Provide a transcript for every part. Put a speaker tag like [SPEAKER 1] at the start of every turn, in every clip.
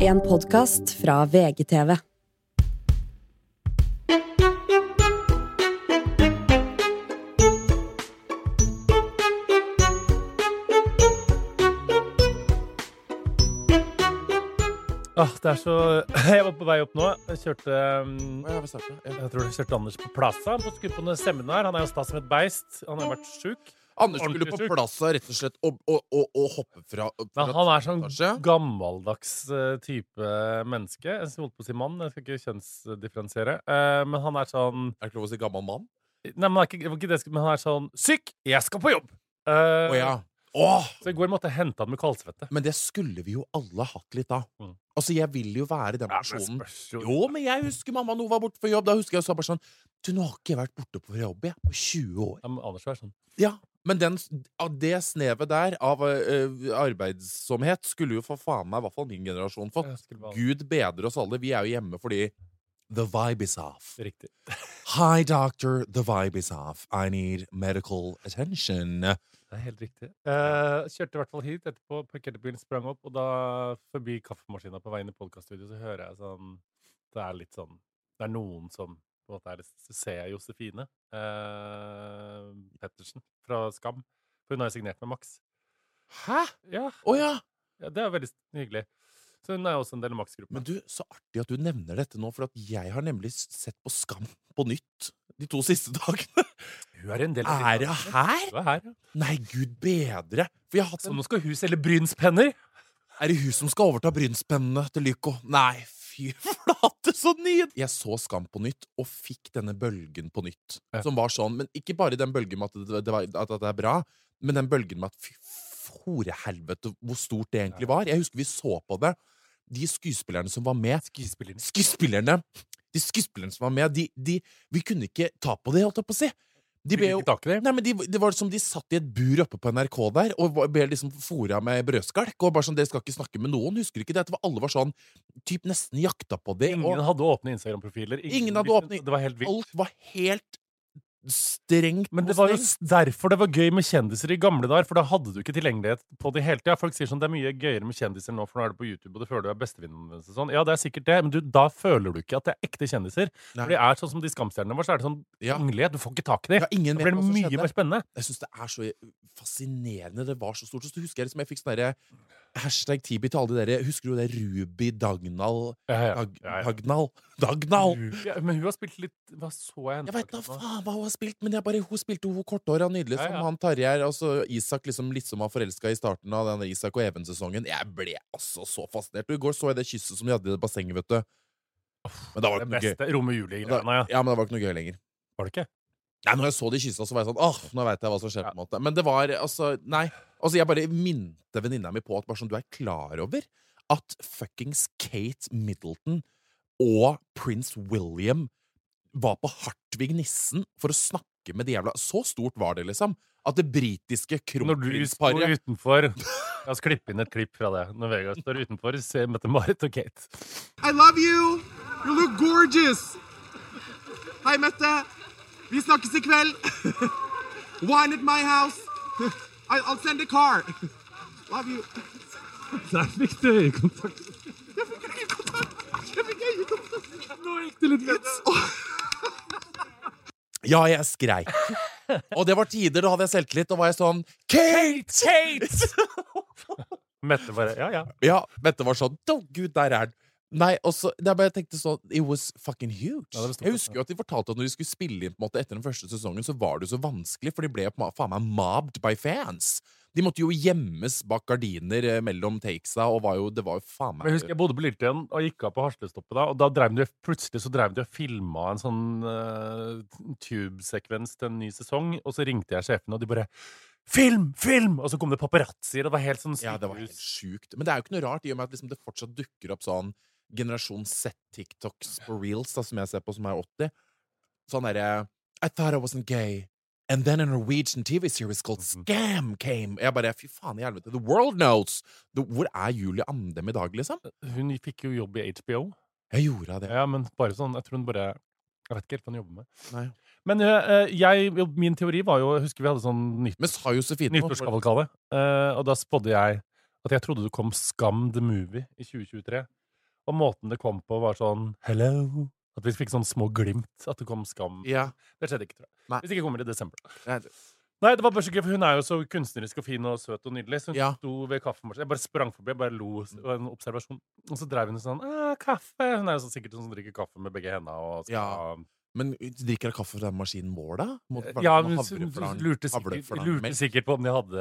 [SPEAKER 1] en podkast fra VGTV.
[SPEAKER 2] Åh, Ah, det er så Jeg var på vei opp nå. Jeg kjørte um,
[SPEAKER 3] Å, ja, vi starter, ja.
[SPEAKER 2] Jeg tror du kjørte Anders på Plaza. Han skulle på noe seminar. Han er jo sta som et beist. Han har vært sjuk.
[SPEAKER 3] Anders skulle på
[SPEAKER 2] Ordentlig sjuk.
[SPEAKER 3] plassen rett og slett og, og, og, og hoppe fra, fra
[SPEAKER 2] Men han er sånn
[SPEAKER 3] etasje.
[SPEAKER 2] gammeldags eh, type menneske. Jeg holdt på å si mann, jeg skal ikke kjønnsdifferensiere. Eh, Men han er sånn
[SPEAKER 3] Er det ikke lov å si gammel mann?
[SPEAKER 2] Nei, men han er ikke, det var ikke det jeg skulle- men han er sånn Syk! Jeg skal på jobb! Eh,
[SPEAKER 3] Å ja. Åh!
[SPEAKER 2] Så i går måtte jeg hente han med kaldsvette.
[SPEAKER 3] Men det skulle vi jo alle hatt litt av.
[SPEAKER 2] Mm.
[SPEAKER 3] Altså, jeg vil jo være den
[SPEAKER 2] Ja,
[SPEAKER 3] personen.
[SPEAKER 2] men spørs jo-
[SPEAKER 3] Jo, men jeg husker mamma nå var borte for jobb. Da husker jeg sa bare sånn Du, nå har ikke jeg vært borte på jobb jeg, på 20 år.
[SPEAKER 2] Ja, men Anders var sånn.
[SPEAKER 3] Ja, men den, av det snevet der av eh, arbeidsomhet skulle jo for faen meg i hvert fall min generasjon fått.
[SPEAKER 2] Jeg skulle bare-
[SPEAKER 3] Gud bedre oss alle. Vi er jo hjemme fordi the vibe is off.
[SPEAKER 2] Riktig.
[SPEAKER 3] Hi, doctor. The vibe is off. I need medical attention.
[SPEAKER 2] Det er helt riktig. Eh, kjørte i hvert fall hit etterpå, parkerte bilen, sprang opp, og da forbi kaffemaskina på vei inn i podkaststudioet, så hører jeg sånn Det er litt sånn Det er noen som på en måte er litt- Så ser jeg Josefine eh, Pettersen fra Skam. For hun har jo signert med Max.
[SPEAKER 3] Hæ?
[SPEAKER 2] Ja,
[SPEAKER 3] Å ja!
[SPEAKER 2] ja, det er veldig hyggelig. Så hun er jo også en del av Max-gruppa.
[SPEAKER 3] Men du, så artig at du nevner dette nå, for at jeg har nemlig s- sett på Skam på nytt de to siste dagene.
[SPEAKER 2] Hun er en del av
[SPEAKER 3] Er det her?
[SPEAKER 2] Hun er her, ja.
[SPEAKER 3] Nei, gud bedre! For jeg har hatt
[SPEAKER 2] Så
[SPEAKER 3] sånn
[SPEAKER 2] nå skal hun selge brynspenner!
[SPEAKER 3] Er det hun som skal overta brynspennene til Lyko? Nei, fy flate, så nyd! Jeg så Skam på nytt, og fikk denne bølgen på nytt.
[SPEAKER 2] Ja.
[SPEAKER 3] Som var sånn, men ikke bare den bølgen med at det, det, var, at det er bra, men den bølgen med at fy forehelvete hvor stort det egentlig var. Jeg husker vi så på det. De skuespillerne som var med
[SPEAKER 2] Skuespilleren.
[SPEAKER 3] Skuespillerne! De skuespillerne som var med, de, de Vi kunne ikke ta på det, holdt jeg på å si. De ble jo
[SPEAKER 2] Fikk ikke tak i det.
[SPEAKER 3] Nei, men de, det var som de satt i et bur oppe på NRK der og var- ble liksom fora med brødskalk. Og bare sånn, dere skal ikke snakke med noen, husker du ikke det? At alle var sånn, typ nesten jakta på det.
[SPEAKER 2] Ingen
[SPEAKER 3] og
[SPEAKER 2] hadde åpne Instagram-profiler.
[SPEAKER 3] Ingen hadde
[SPEAKER 2] visste-
[SPEAKER 3] åpne-
[SPEAKER 2] Det var helt vilt.
[SPEAKER 3] alt var helt strengt
[SPEAKER 2] Men det
[SPEAKER 3] og
[SPEAKER 2] var jo
[SPEAKER 3] strengt.
[SPEAKER 2] s- derfor det var gøy med kjendiser i gamle dager, for da hadde du ikke tilgjengelighet på det hele tida. Folk sier sånn det er mye gøyere med kjendiser nå, for nå er det på YouTube, og du føler du er bestevenninnen deres og sånn. Ja, det er sikkert det, men du, da føler du ikke at det er ekte kjendiser.
[SPEAKER 3] Nei.
[SPEAKER 2] For det er sånn som de skamstjernene våre, så er det sånn
[SPEAKER 3] Ja.
[SPEAKER 2] kongelighet, du får ikke tak i
[SPEAKER 3] Ja,
[SPEAKER 2] dem.
[SPEAKER 3] ingen
[SPEAKER 2] Da
[SPEAKER 3] vet
[SPEAKER 2] blir
[SPEAKER 3] hva
[SPEAKER 2] det
[SPEAKER 3] som
[SPEAKER 2] mye
[SPEAKER 3] skjedde.
[SPEAKER 2] mer spennende.
[SPEAKER 3] Jeg syns det er så fascinerende. Det var så stort. Og så husker jeg liksom, jeg fikk sånn derre Hashtag Tibi til alle de dere. Husker du det Ruby Dagnall
[SPEAKER 2] Ja, ja.
[SPEAKER 3] Dag,
[SPEAKER 2] ja, ja.
[SPEAKER 3] Dagnall? Dagnall!
[SPEAKER 2] Ja, men hun har spilt litt Hva så jeg henne
[SPEAKER 3] Jeg veit da
[SPEAKER 2] akkurat nå?
[SPEAKER 3] faen hva hun har spilt, men jeg bare, hun spilte hun korthåra nydelig
[SPEAKER 2] Ja, ja.
[SPEAKER 3] som han Tarjei er. Altså, Isak liksom litt som var forelska i starten av den Isak og Even-sesongen. Jeg ble altså så fascinert. Og I går så jeg det kysset som de hadde i det bassenget, vet du. Men da var
[SPEAKER 2] Det
[SPEAKER 3] det ikke noe gøy.
[SPEAKER 2] beste Romeo
[SPEAKER 3] Da,
[SPEAKER 2] Julie-greiene, ja.
[SPEAKER 3] ja, men det var ikke noe gøy lenger.
[SPEAKER 2] Var det ikke?
[SPEAKER 3] Nei, når jeg så de kyssa, så var jeg sånn Åh, nå veit jeg hva som skjer.
[SPEAKER 2] Ja.
[SPEAKER 3] på en måte Men det var altså Nei. Altså, jeg bare minte venninna mi på at bare sånn, du er klar over at fuckings Kate Middleton og prins William var på Hartvig Nissen for å snakke med de jævla Så stort var det, liksom. At det britiske
[SPEAKER 2] Når du står
[SPEAKER 3] kronprinsparet
[SPEAKER 2] utenfor La oss klippe inn et klipp fra det. Når Vegard står utenfor, ser Mette-Marit og Kate.
[SPEAKER 4] I love you! You look gorgeous! Hei, Mette. Vi snakkes i kveld. Wine at my house. I- I'll send a car. Love you.
[SPEAKER 5] Der fikk du øyekontakt.
[SPEAKER 4] Jeg fikk øyekontakt! Jeg fikk øyekontakt!
[SPEAKER 5] Nå gikk det litt bedre.
[SPEAKER 3] Ja, jeg skreik. Og det var tider, da hadde jeg selvtillit, og var jeg sånn Kate!
[SPEAKER 2] Mette bare Ja, ja.
[SPEAKER 3] Ja, Mette var sånn Å, gud, der er den. Nei, og så det er bare jeg tenkte sånn It was fucking huge.
[SPEAKER 2] Ja, det var stort,
[SPEAKER 3] jeg husker jo at de fortalte at når de skulle spille inn på en måte etter den første sesongen, så var det jo så vanskelig, for de ble jo på ma- faen meg mobbed by fans. De måtte jo gjemmes bak gardiner eh, mellom takesa, og var jo, det var jo faen
[SPEAKER 2] Men
[SPEAKER 3] meg
[SPEAKER 2] jeg husker jeg bodde på Lilltøyen og gikk av på Haslestoppet da, og da drev de, plutselig så drev de og filma en sånn eh, tube-sekvens til en ny sesong, og så ringte jeg sjefene, og de bare Film! Film! Og så kom det paparazzier, og det var helt sånn
[SPEAKER 3] Ja, det var helt
[SPEAKER 2] sykehus.
[SPEAKER 3] sjukt. Men det er jo ikke noe rart, i og med at liksom det fortsatt dukker opp sånn generasjon Z-TikToks på reels, da, som jeg ser på, som er 80. Sånn derre I thought I wasn't gay. And then a Norwegian TV series called
[SPEAKER 2] Mhm.
[SPEAKER 3] Scam came. Jeg bare, fy faen i helvete. The world knows! The, hvor er Julie Andem i dag, liksom?
[SPEAKER 2] Hun fikk jo jobb i HBO.
[SPEAKER 3] Jeg gjorde det.
[SPEAKER 2] Ja, men bare sånn Jeg tror hun bare Jeg vet ikke helt hva hun jobber med.
[SPEAKER 3] Nei.
[SPEAKER 2] Men eh, jeg, min teori var jo Husker vi hadde sånn nytt,
[SPEAKER 3] Men sa Josefine noe?
[SPEAKER 2] nyttårskavalkade, eh, og da spådde jeg at jeg trodde det kom Skam the Movie i 2023. Og måten det kom på, var sånn Hello. At vi fikk sånn små glimt. At det kom skam.
[SPEAKER 3] Ja.
[SPEAKER 2] Det skjedde ikke, tror jeg.
[SPEAKER 3] Nei.
[SPEAKER 2] Hvis ikke kommer det i desember.
[SPEAKER 3] Nei,
[SPEAKER 2] Nei, det var bare så gøy, for hun er jo så kunstnerisk og fin og søt og nydelig. Så hun
[SPEAKER 3] Ja. Mm.
[SPEAKER 2] sto ved kaffemaskinen. Jeg bare sprang forbi, jeg bare lo. Det var en observasjon. Og så dreiv hun sånn «Æ, Kaffe. Hun er jo så sikkert sånn som drikker kaffe med begge hendene. Og skal,
[SPEAKER 3] Ja. Men drikker hun kaffe fra den maskinen vår, da? Må-
[SPEAKER 2] Eh, ja,
[SPEAKER 3] bare sånn
[SPEAKER 2] hun,
[SPEAKER 3] havre for den-
[SPEAKER 2] lurte,
[SPEAKER 3] havre for
[SPEAKER 2] sikkert,
[SPEAKER 3] den
[SPEAKER 2] lurte
[SPEAKER 3] melk.
[SPEAKER 2] sikkert på om de hadde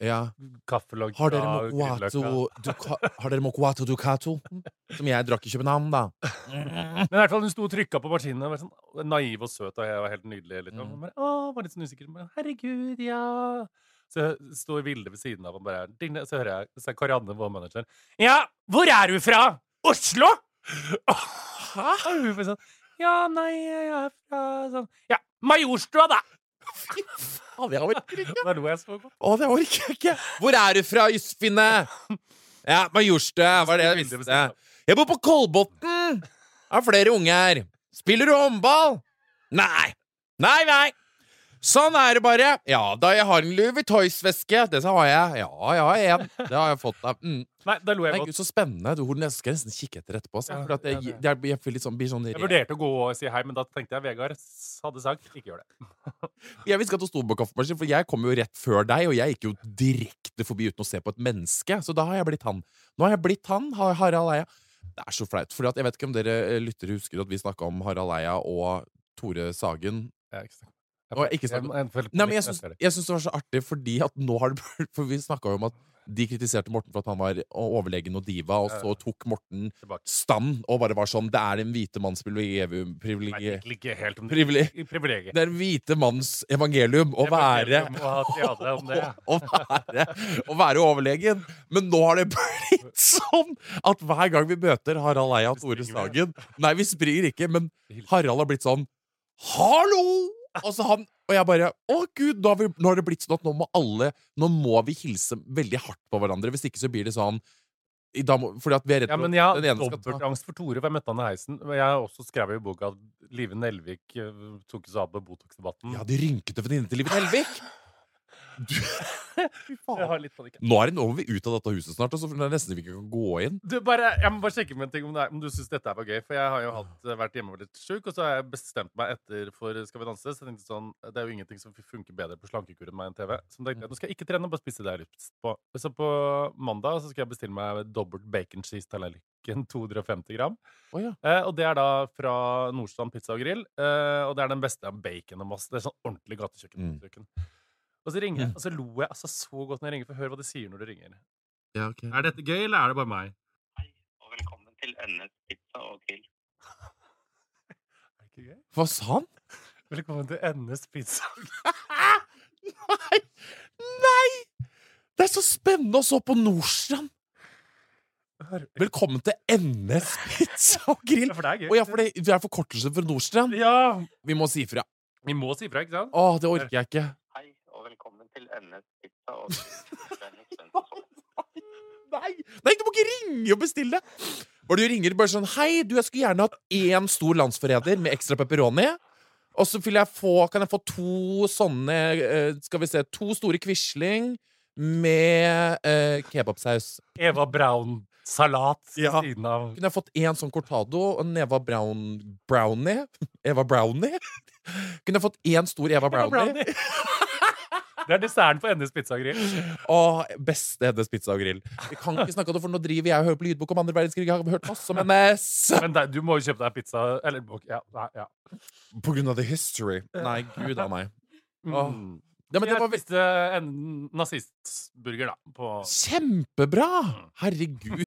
[SPEAKER 3] Ja.
[SPEAKER 2] kaffelogg
[SPEAKER 3] Har dere
[SPEAKER 2] fra Grünerløkka.
[SPEAKER 3] Mokuato Duca- Har dere Mokuato Ducato? Som jeg drakk i København, da.
[SPEAKER 2] Men i hvert fall hun sto og trykka på maskinen og var sånn naiv og søt, og jeg var helt nydelig. Litt.
[SPEAKER 3] Mm.
[SPEAKER 2] Og bare, Åh, var litt sånn usikker. Bare, Herregud, ja. Så jeg står Vilde ved siden av og bare ding, ding, Så hører jeg så er Karianne, vår manager, Ja, hvor er du fra? Oslo? Hæ? Og hun bare sånn Ja, nei, jeg er fra sånn Ja, Majorstua, da!
[SPEAKER 3] Å, det orker jeg ikke.
[SPEAKER 2] Da lo jeg så godt.
[SPEAKER 3] Å, det orker jeg ikke. Hvor er du fra, Josefine? Ja, Majorstø, var det jeg
[SPEAKER 2] Bildet ved
[SPEAKER 3] visste.
[SPEAKER 2] siden av.
[SPEAKER 3] Jeg bor på Kolbotn. Har flere unger. Spiller du håndball? Nei. Nei, nei. Sånn er det bare. Ja da, jeg har en Louis Vuitton-veske. Det har jeg. Ja, jeg har en. Det har jeg fått av mm.
[SPEAKER 2] Nei, da lo jeg
[SPEAKER 3] Nei,
[SPEAKER 2] godt.
[SPEAKER 3] gud, så spennende. Du, Horten, jeg skal nesten kikke etter etterpå. Så,
[SPEAKER 2] Ja,
[SPEAKER 3] for at jeg,
[SPEAKER 2] ja,
[SPEAKER 3] jeg, jeg, blir litt sånn, blir sånn
[SPEAKER 2] Jeg
[SPEAKER 3] red.
[SPEAKER 2] vurderte å gå og si hei, men da tenkte jeg Vegard s- hadde sagt ikke gjør det.
[SPEAKER 3] Jeg visste ikke at det sto på kaffemaskinen, for jeg kom jo rett før deg, og jeg gikk jo direkte forbi uten å se på et menneske. Så da har jeg blitt han. Nå har jeg blitt han, har Harald Eia. Det er så flaut. For jeg vet ikke om dere eh, lyttere husker at vi snakka om Harald Eia og Tore Sagen.
[SPEAKER 2] Jeg, jeg,
[SPEAKER 3] Og ikke snakk- Nei, men jeg syns, jeg syns det var så artig, fordi at nå har det blitt- For vi snakka jo om at de kritiserte Morten for at han var overlegen og diva, og så tok Morten
[SPEAKER 2] Tilbake.
[SPEAKER 3] stand og bare var sånn Det er den hvite manns privilegium privilegium-
[SPEAKER 2] ikke helt om
[SPEAKER 3] Privile-
[SPEAKER 2] i privilegiet.
[SPEAKER 3] Det er den hvite manns evangelium å være
[SPEAKER 2] Evangelium og at de hadde om det.
[SPEAKER 3] å, være, å være overlegen. Men nå har det blitt sånn at hver gang vi møter Harald Eia og Tore
[SPEAKER 2] springer
[SPEAKER 3] Sagen Nei, vi springer ikke, men Harald har blitt sånn Hallo! Og, så han, og jeg bare Å, gud, nå har, vi, nå har det blitt sånn at nå må alle Nå må vi hilse veldig hardt på hverandre, hvis ikke så blir det sånn i- da må, Fordi at vi er redd
[SPEAKER 2] Ja,
[SPEAKER 3] for
[SPEAKER 2] men
[SPEAKER 3] at
[SPEAKER 2] jeg har
[SPEAKER 3] den ene skal ta
[SPEAKER 2] dobbeltangst for Tore, for jeg møtte han i heisen. Og jeg har også skrevet i boka at Live Nelvik eh, tok seg av med Botox-debatten.
[SPEAKER 3] Ja, de rynkete venninnene til Livet Helvik! Du, fy
[SPEAKER 2] Jeg
[SPEAKER 3] faen.
[SPEAKER 2] har litt panikk.
[SPEAKER 3] Nå er det nå må vi ut av dette huset snart, og så det er nesten vi ikke kan gå inn.
[SPEAKER 2] Du, bare, jeg må bare sjekke med en ting om, det er, om du syns dette her var gøy. For jeg har jo hatt, eh, vært hjemme og vært litt sjuk, og så har jeg bestemt meg etter for Skal vi danse. Så jeg tenkte sånn, Det er jo ingenting som funker bedre på slankekur enn meg enn TV. Så tenkte
[SPEAKER 3] Mm.
[SPEAKER 2] jeg nå skal jeg ikke trene, bare spise det jeg har lyst på. Så på mandag så skal jeg bestille meg dobbelt bacon cheese-tallerken, 250 gram.
[SPEAKER 3] Å, ja.
[SPEAKER 2] Eh, og det er da fra Nordstrand Pizza og Grill. Eh, og det er den beste av bacon og masse. Det er sånn ordentlig
[SPEAKER 3] Mm.
[SPEAKER 2] gatekjøkken. Og så ringer jeg, og så lo jeg altså så godt når jeg ringer, for hør hva de sier når du ringer.
[SPEAKER 3] Ja, ok.
[SPEAKER 2] Er dette gøy, eller er det bare meg?
[SPEAKER 6] og velkommen til NS Pizza og Grill.
[SPEAKER 2] Er det ikke gøy?
[SPEAKER 3] Hva sa han?
[SPEAKER 2] Velkommen til NS Pizza.
[SPEAKER 3] Nei! Nei! Det er så spennende å så på Nordstrand! Velkommen til NS Pizza og Grill.
[SPEAKER 2] for det er gøy.
[SPEAKER 3] Å ja, for det, det er forkortelse for Nordstrand.
[SPEAKER 2] Ja!
[SPEAKER 3] Vi må si ifra.
[SPEAKER 2] Vi må si ifra, ikke sant?
[SPEAKER 3] Å, det orker jeg ikke.
[SPEAKER 6] Hei, og velkommen til NS Pizza og Grill. er Dennis Svensson.
[SPEAKER 3] Nei, Nei du må ikke ringe og bestille! Hvor du ringer bare sånn Hei, du, jeg skulle gjerne hatt én stor landsforræder med ekstra pepperoni. Og så vil jeg få, kan jeg få to sånne eh, Skal vi se To store Quisling med eh, kebabsaus.
[SPEAKER 2] Eva Braun-salat
[SPEAKER 3] Ja.
[SPEAKER 2] ved siden av
[SPEAKER 3] Kunne jeg fått én sånn cortado og en Eva Brown brownie? Eva Brownie? Kunne jeg fått én stor Eva
[SPEAKER 2] Eva
[SPEAKER 3] Brownie?
[SPEAKER 2] Brownie. Det er desserten på NS Pizza og Grill.
[SPEAKER 3] Åh, beste hennes pizza og grill. Vi kan ikke snakke om det, for nå driver jeg og hører på lydbok om andre verdenskrig. Jeg har hørt masse om hennes!
[SPEAKER 2] Men det, du må jo kjøpe deg pizza Eller ok, ja. nei, ja.
[SPEAKER 3] På grunn av the history. Nei, gud a meg. Åh.
[SPEAKER 2] Mm.
[SPEAKER 3] Ja, men det
[SPEAKER 2] jeg
[SPEAKER 3] var visst
[SPEAKER 2] spiste en nazistburger, da. På
[SPEAKER 3] kjempebra! Herregud.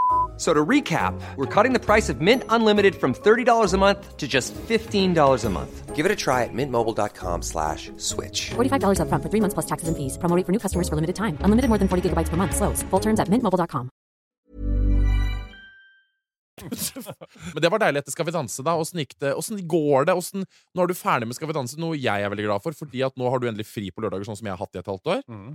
[SPEAKER 7] So to recap, we're cutting the price of Mint Unlimited from $30 a month to just $15 a month. Give it a try at mintmobile.com slash switch.
[SPEAKER 8] $45 up front for three months plus taxes and fees. Promo rate for new customers for limited time. Unlimited more than 40 gigabytes per month. Slows. Full terms at mintmobile.com.
[SPEAKER 3] Men det var deilig etter Skal vi danse, da. Åssen gikk det? Åssen går det? Åssen- nå er du ferdig med Skal vi danse, noe jeg er veldig glad for, fordi at nå har du endelig fri på lørdager, sånn som jeg har hatt i et halvt år.
[SPEAKER 2] Mm.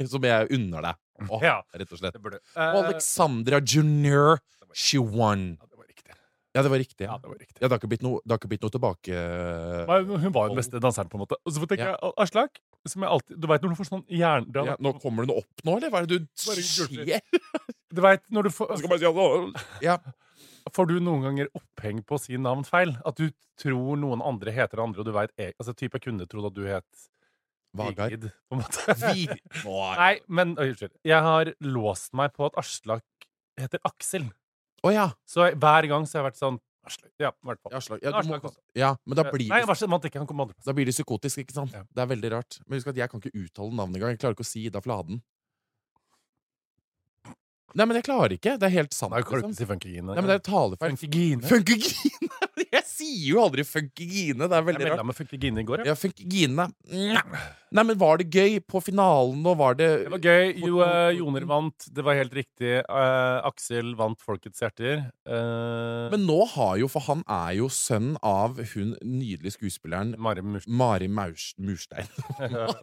[SPEAKER 3] Som jeg unner deg. Åh,
[SPEAKER 2] Ja.
[SPEAKER 3] Rett og slett.
[SPEAKER 2] Det burde
[SPEAKER 3] Og
[SPEAKER 2] Eh,
[SPEAKER 3] Alexandra Junior, she won.
[SPEAKER 2] ja, det var riktig.
[SPEAKER 3] Ja, det var riktig.
[SPEAKER 2] Ja,
[SPEAKER 3] Ja,
[SPEAKER 2] det var riktig.
[SPEAKER 3] det har ikke blitt noe, det har ikke blitt noe tilbake...
[SPEAKER 2] Nei, men Hun var jo den beste danseren, på en måte. Og så tenker
[SPEAKER 3] Ja.
[SPEAKER 2] jeg, Aslak som jeg alltid, Du vet når du får sånn jerndrag
[SPEAKER 3] Ja, nå kommer det noe opp nå, eller? Hva er det du
[SPEAKER 2] Bare gulp litt.
[SPEAKER 3] skjer?
[SPEAKER 2] Du vet når du får
[SPEAKER 3] Ja.
[SPEAKER 2] Får du noen ganger oppheng på å si navn feil? At du tror noen andre heter det andre, og du veit Altså, type jeg kunne trodd at du het
[SPEAKER 3] Vagar.
[SPEAKER 2] Vigrid, på en måte.
[SPEAKER 3] Vi... Nå er-
[SPEAKER 2] Nei, men Oi, Unnskyld. Jeg har låst meg på at Aslak heter Aksel.
[SPEAKER 3] Å ja.
[SPEAKER 2] Så jeg, hver gang så har jeg vært sånn Aslak Ja, i hvert fall.
[SPEAKER 3] Ja, slag. Ja, du
[SPEAKER 2] Aslak
[SPEAKER 3] må...
[SPEAKER 2] også.
[SPEAKER 3] ja, men da blir
[SPEAKER 2] Nei,
[SPEAKER 3] det
[SPEAKER 2] vær så man tenker han kommer på andreplass.
[SPEAKER 3] Da blir det psykotisk, ikke sant?
[SPEAKER 2] Ja.
[SPEAKER 3] Det er veldig rart. Men husk at jeg kan ikke uttale navnet engang. Jeg klarer ikke å si Ida Fladen. Nei, men jeg klarer ikke. Det er helt sant.
[SPEAKER 2] Nei, kan du
[SPEAKER 3] liksom.
[SPEAKER 2] ikke si Funkygine?
[SPEAKER 3] Nei, men det er talefeil.
[SPEAKER 2] Funkygine.
[SPEAKER 3] Funkygine! Jeg sier jo aldri funkygine. Det er
[SPEAKER 2] Jeg
[SPEAKER 3] veldig
[SPEAKER 2] melda
[SPEAKER 3] rart.
[SPEAKER 2] meg Funkygine i går, ja.
[SPEAKER 3] Ja, funkygine. Nei, men var det gøy på finalen, og var det
[SPEAKER 2] Det var gøy. Jo, eh, Joner vant. Det var helt riktig. Eh, Aksel vant Folkets hjerter. Eh,
[SPEAKER 3] Men nå har jo, for han er jo sønn av hun nydelige skuespilleren
[SPEAKER 2] Mari Murstein.
[SPEAKER 3] Mari Maus Murstein.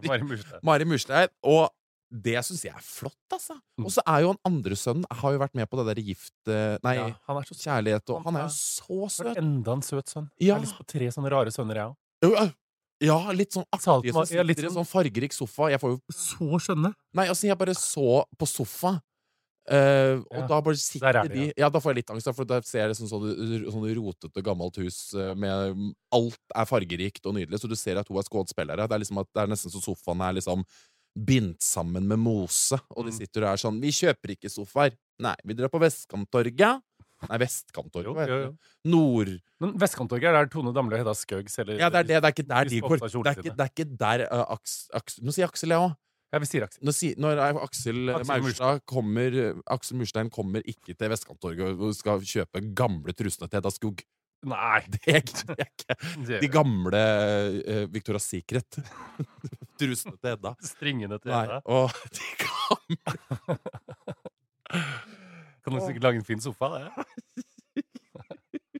[SPEAKER 2] Mari Murstein.
[SPEAKER 3] Mari Murstein. Og det syns jeg er flott, altså.
[SPEAKER 2] Mm.
[SPEAKER 3] Og så er jo han andre sønnen har jo vært med på det derre gift eh, Nei,
[SPEAKER 2] Ja, han er så søt.
[SPEAKER 3] kjærlighet og
[SPEAKER 2] Han
[SPEAKER 3] Han
[SPEAKER 2] er-
[SPEAKER 3] er jo så
[SPEAKER 2] Det er
[SPEAKER 3] søt.
[SPEAKER 2] Enda en søt sønn. Jeg
[SPEAKER 3] Ja.
[SPEAKER 2] har lyst på tre sånne rare sønner, jeg òg.
[SPEAKER 3] Jo, ja. Ja, litt sånn
[SPEAKER 2] Saltma-
[SPEAKER 3] aktige som
[SPEAKER 2] ja,
[SPEAKER 3] sitter
[SPEAKER 2] litt
[SPEAKER 3] i en
[SPEAKER 2] sånn-
[SPEAKER 3] sånn fargerik sofa. Jeg får jo
[SPEAKER 2] Så skjønne.
[SPEAKER 3] Nei, altså, jeg bare så på sofa. eh, og
[SPEAKER 2] Ja,
[SPEAKER 3] da bare sitter
[SPEAKER 2] der er det,
[SPEAKER 3] de Ja, da får jeg litt angst, da, for da ser jeg liksom sånn, sånn rotete, gammelt hus eh, med mm, Alt er fargerikt og nydelig, så du ser at hun er skuespillere. Det er liksom at det er nesten så sofaen er liksom bindt sammen med mose, og de
[SPEAKER 2] Mm.
[SPEAKER 3] sitter og er sånn Vi kjøper ikke sofaer. Nei, vi drar på Vestkanttorget. Nei, Vestkanttorget,
[SPEAKER 2] Jo,
[SPEAKER 3] hva
[SPEAKER 2] jo,
[SPEAKER 3] heter
[SPEAKER 2] jo.
[SPEAKER 3] det? Nord...
[SPEAKER 2] Men Vestkanttorget er der Tone Damli og Hedda Skaug selger
[SPEAKER 3] Ja, det er det. Det er ikke der
[SPEAKER 2] de
[SPEAKER 3] de
[SPEAKER 2] spotta
[SPEAKER 3] går. Det er
[SPEAKER 2] kjolene
[SPEAKER 3] ikke, det er ikke der eh, Aks, Aks, Nå sier Aksel, jeg òg.
[SPEAKER 2] Ja, vi sier Aksel.
[SPEAKER 3] Når, si, når Aksel, eh,
[SPEAKER 2] Aksel
[SPEAKER 3] Maurstad kommer eh, Aksel Murstein kommer ikke til Vestkanttorget og skal kjøpe gamle trusene til Hedda Skog.
[SPEAKER 2] Nei.
[SPEAKER 3] Det er ikke, det er ikke.
[SPEAKER 2] det-
[SPEAKER 3] De gamle eh, Victoria's Secret-trusene til Hedda.
[SPEAKER 2] Stringene til
[SPEAKER 3] Nei,
[SPEAKER 2] Hedda.
[SPEAKER 3] og de gamle
[SPEAKER 2] Kan du sikkert lage en fin sofa, det.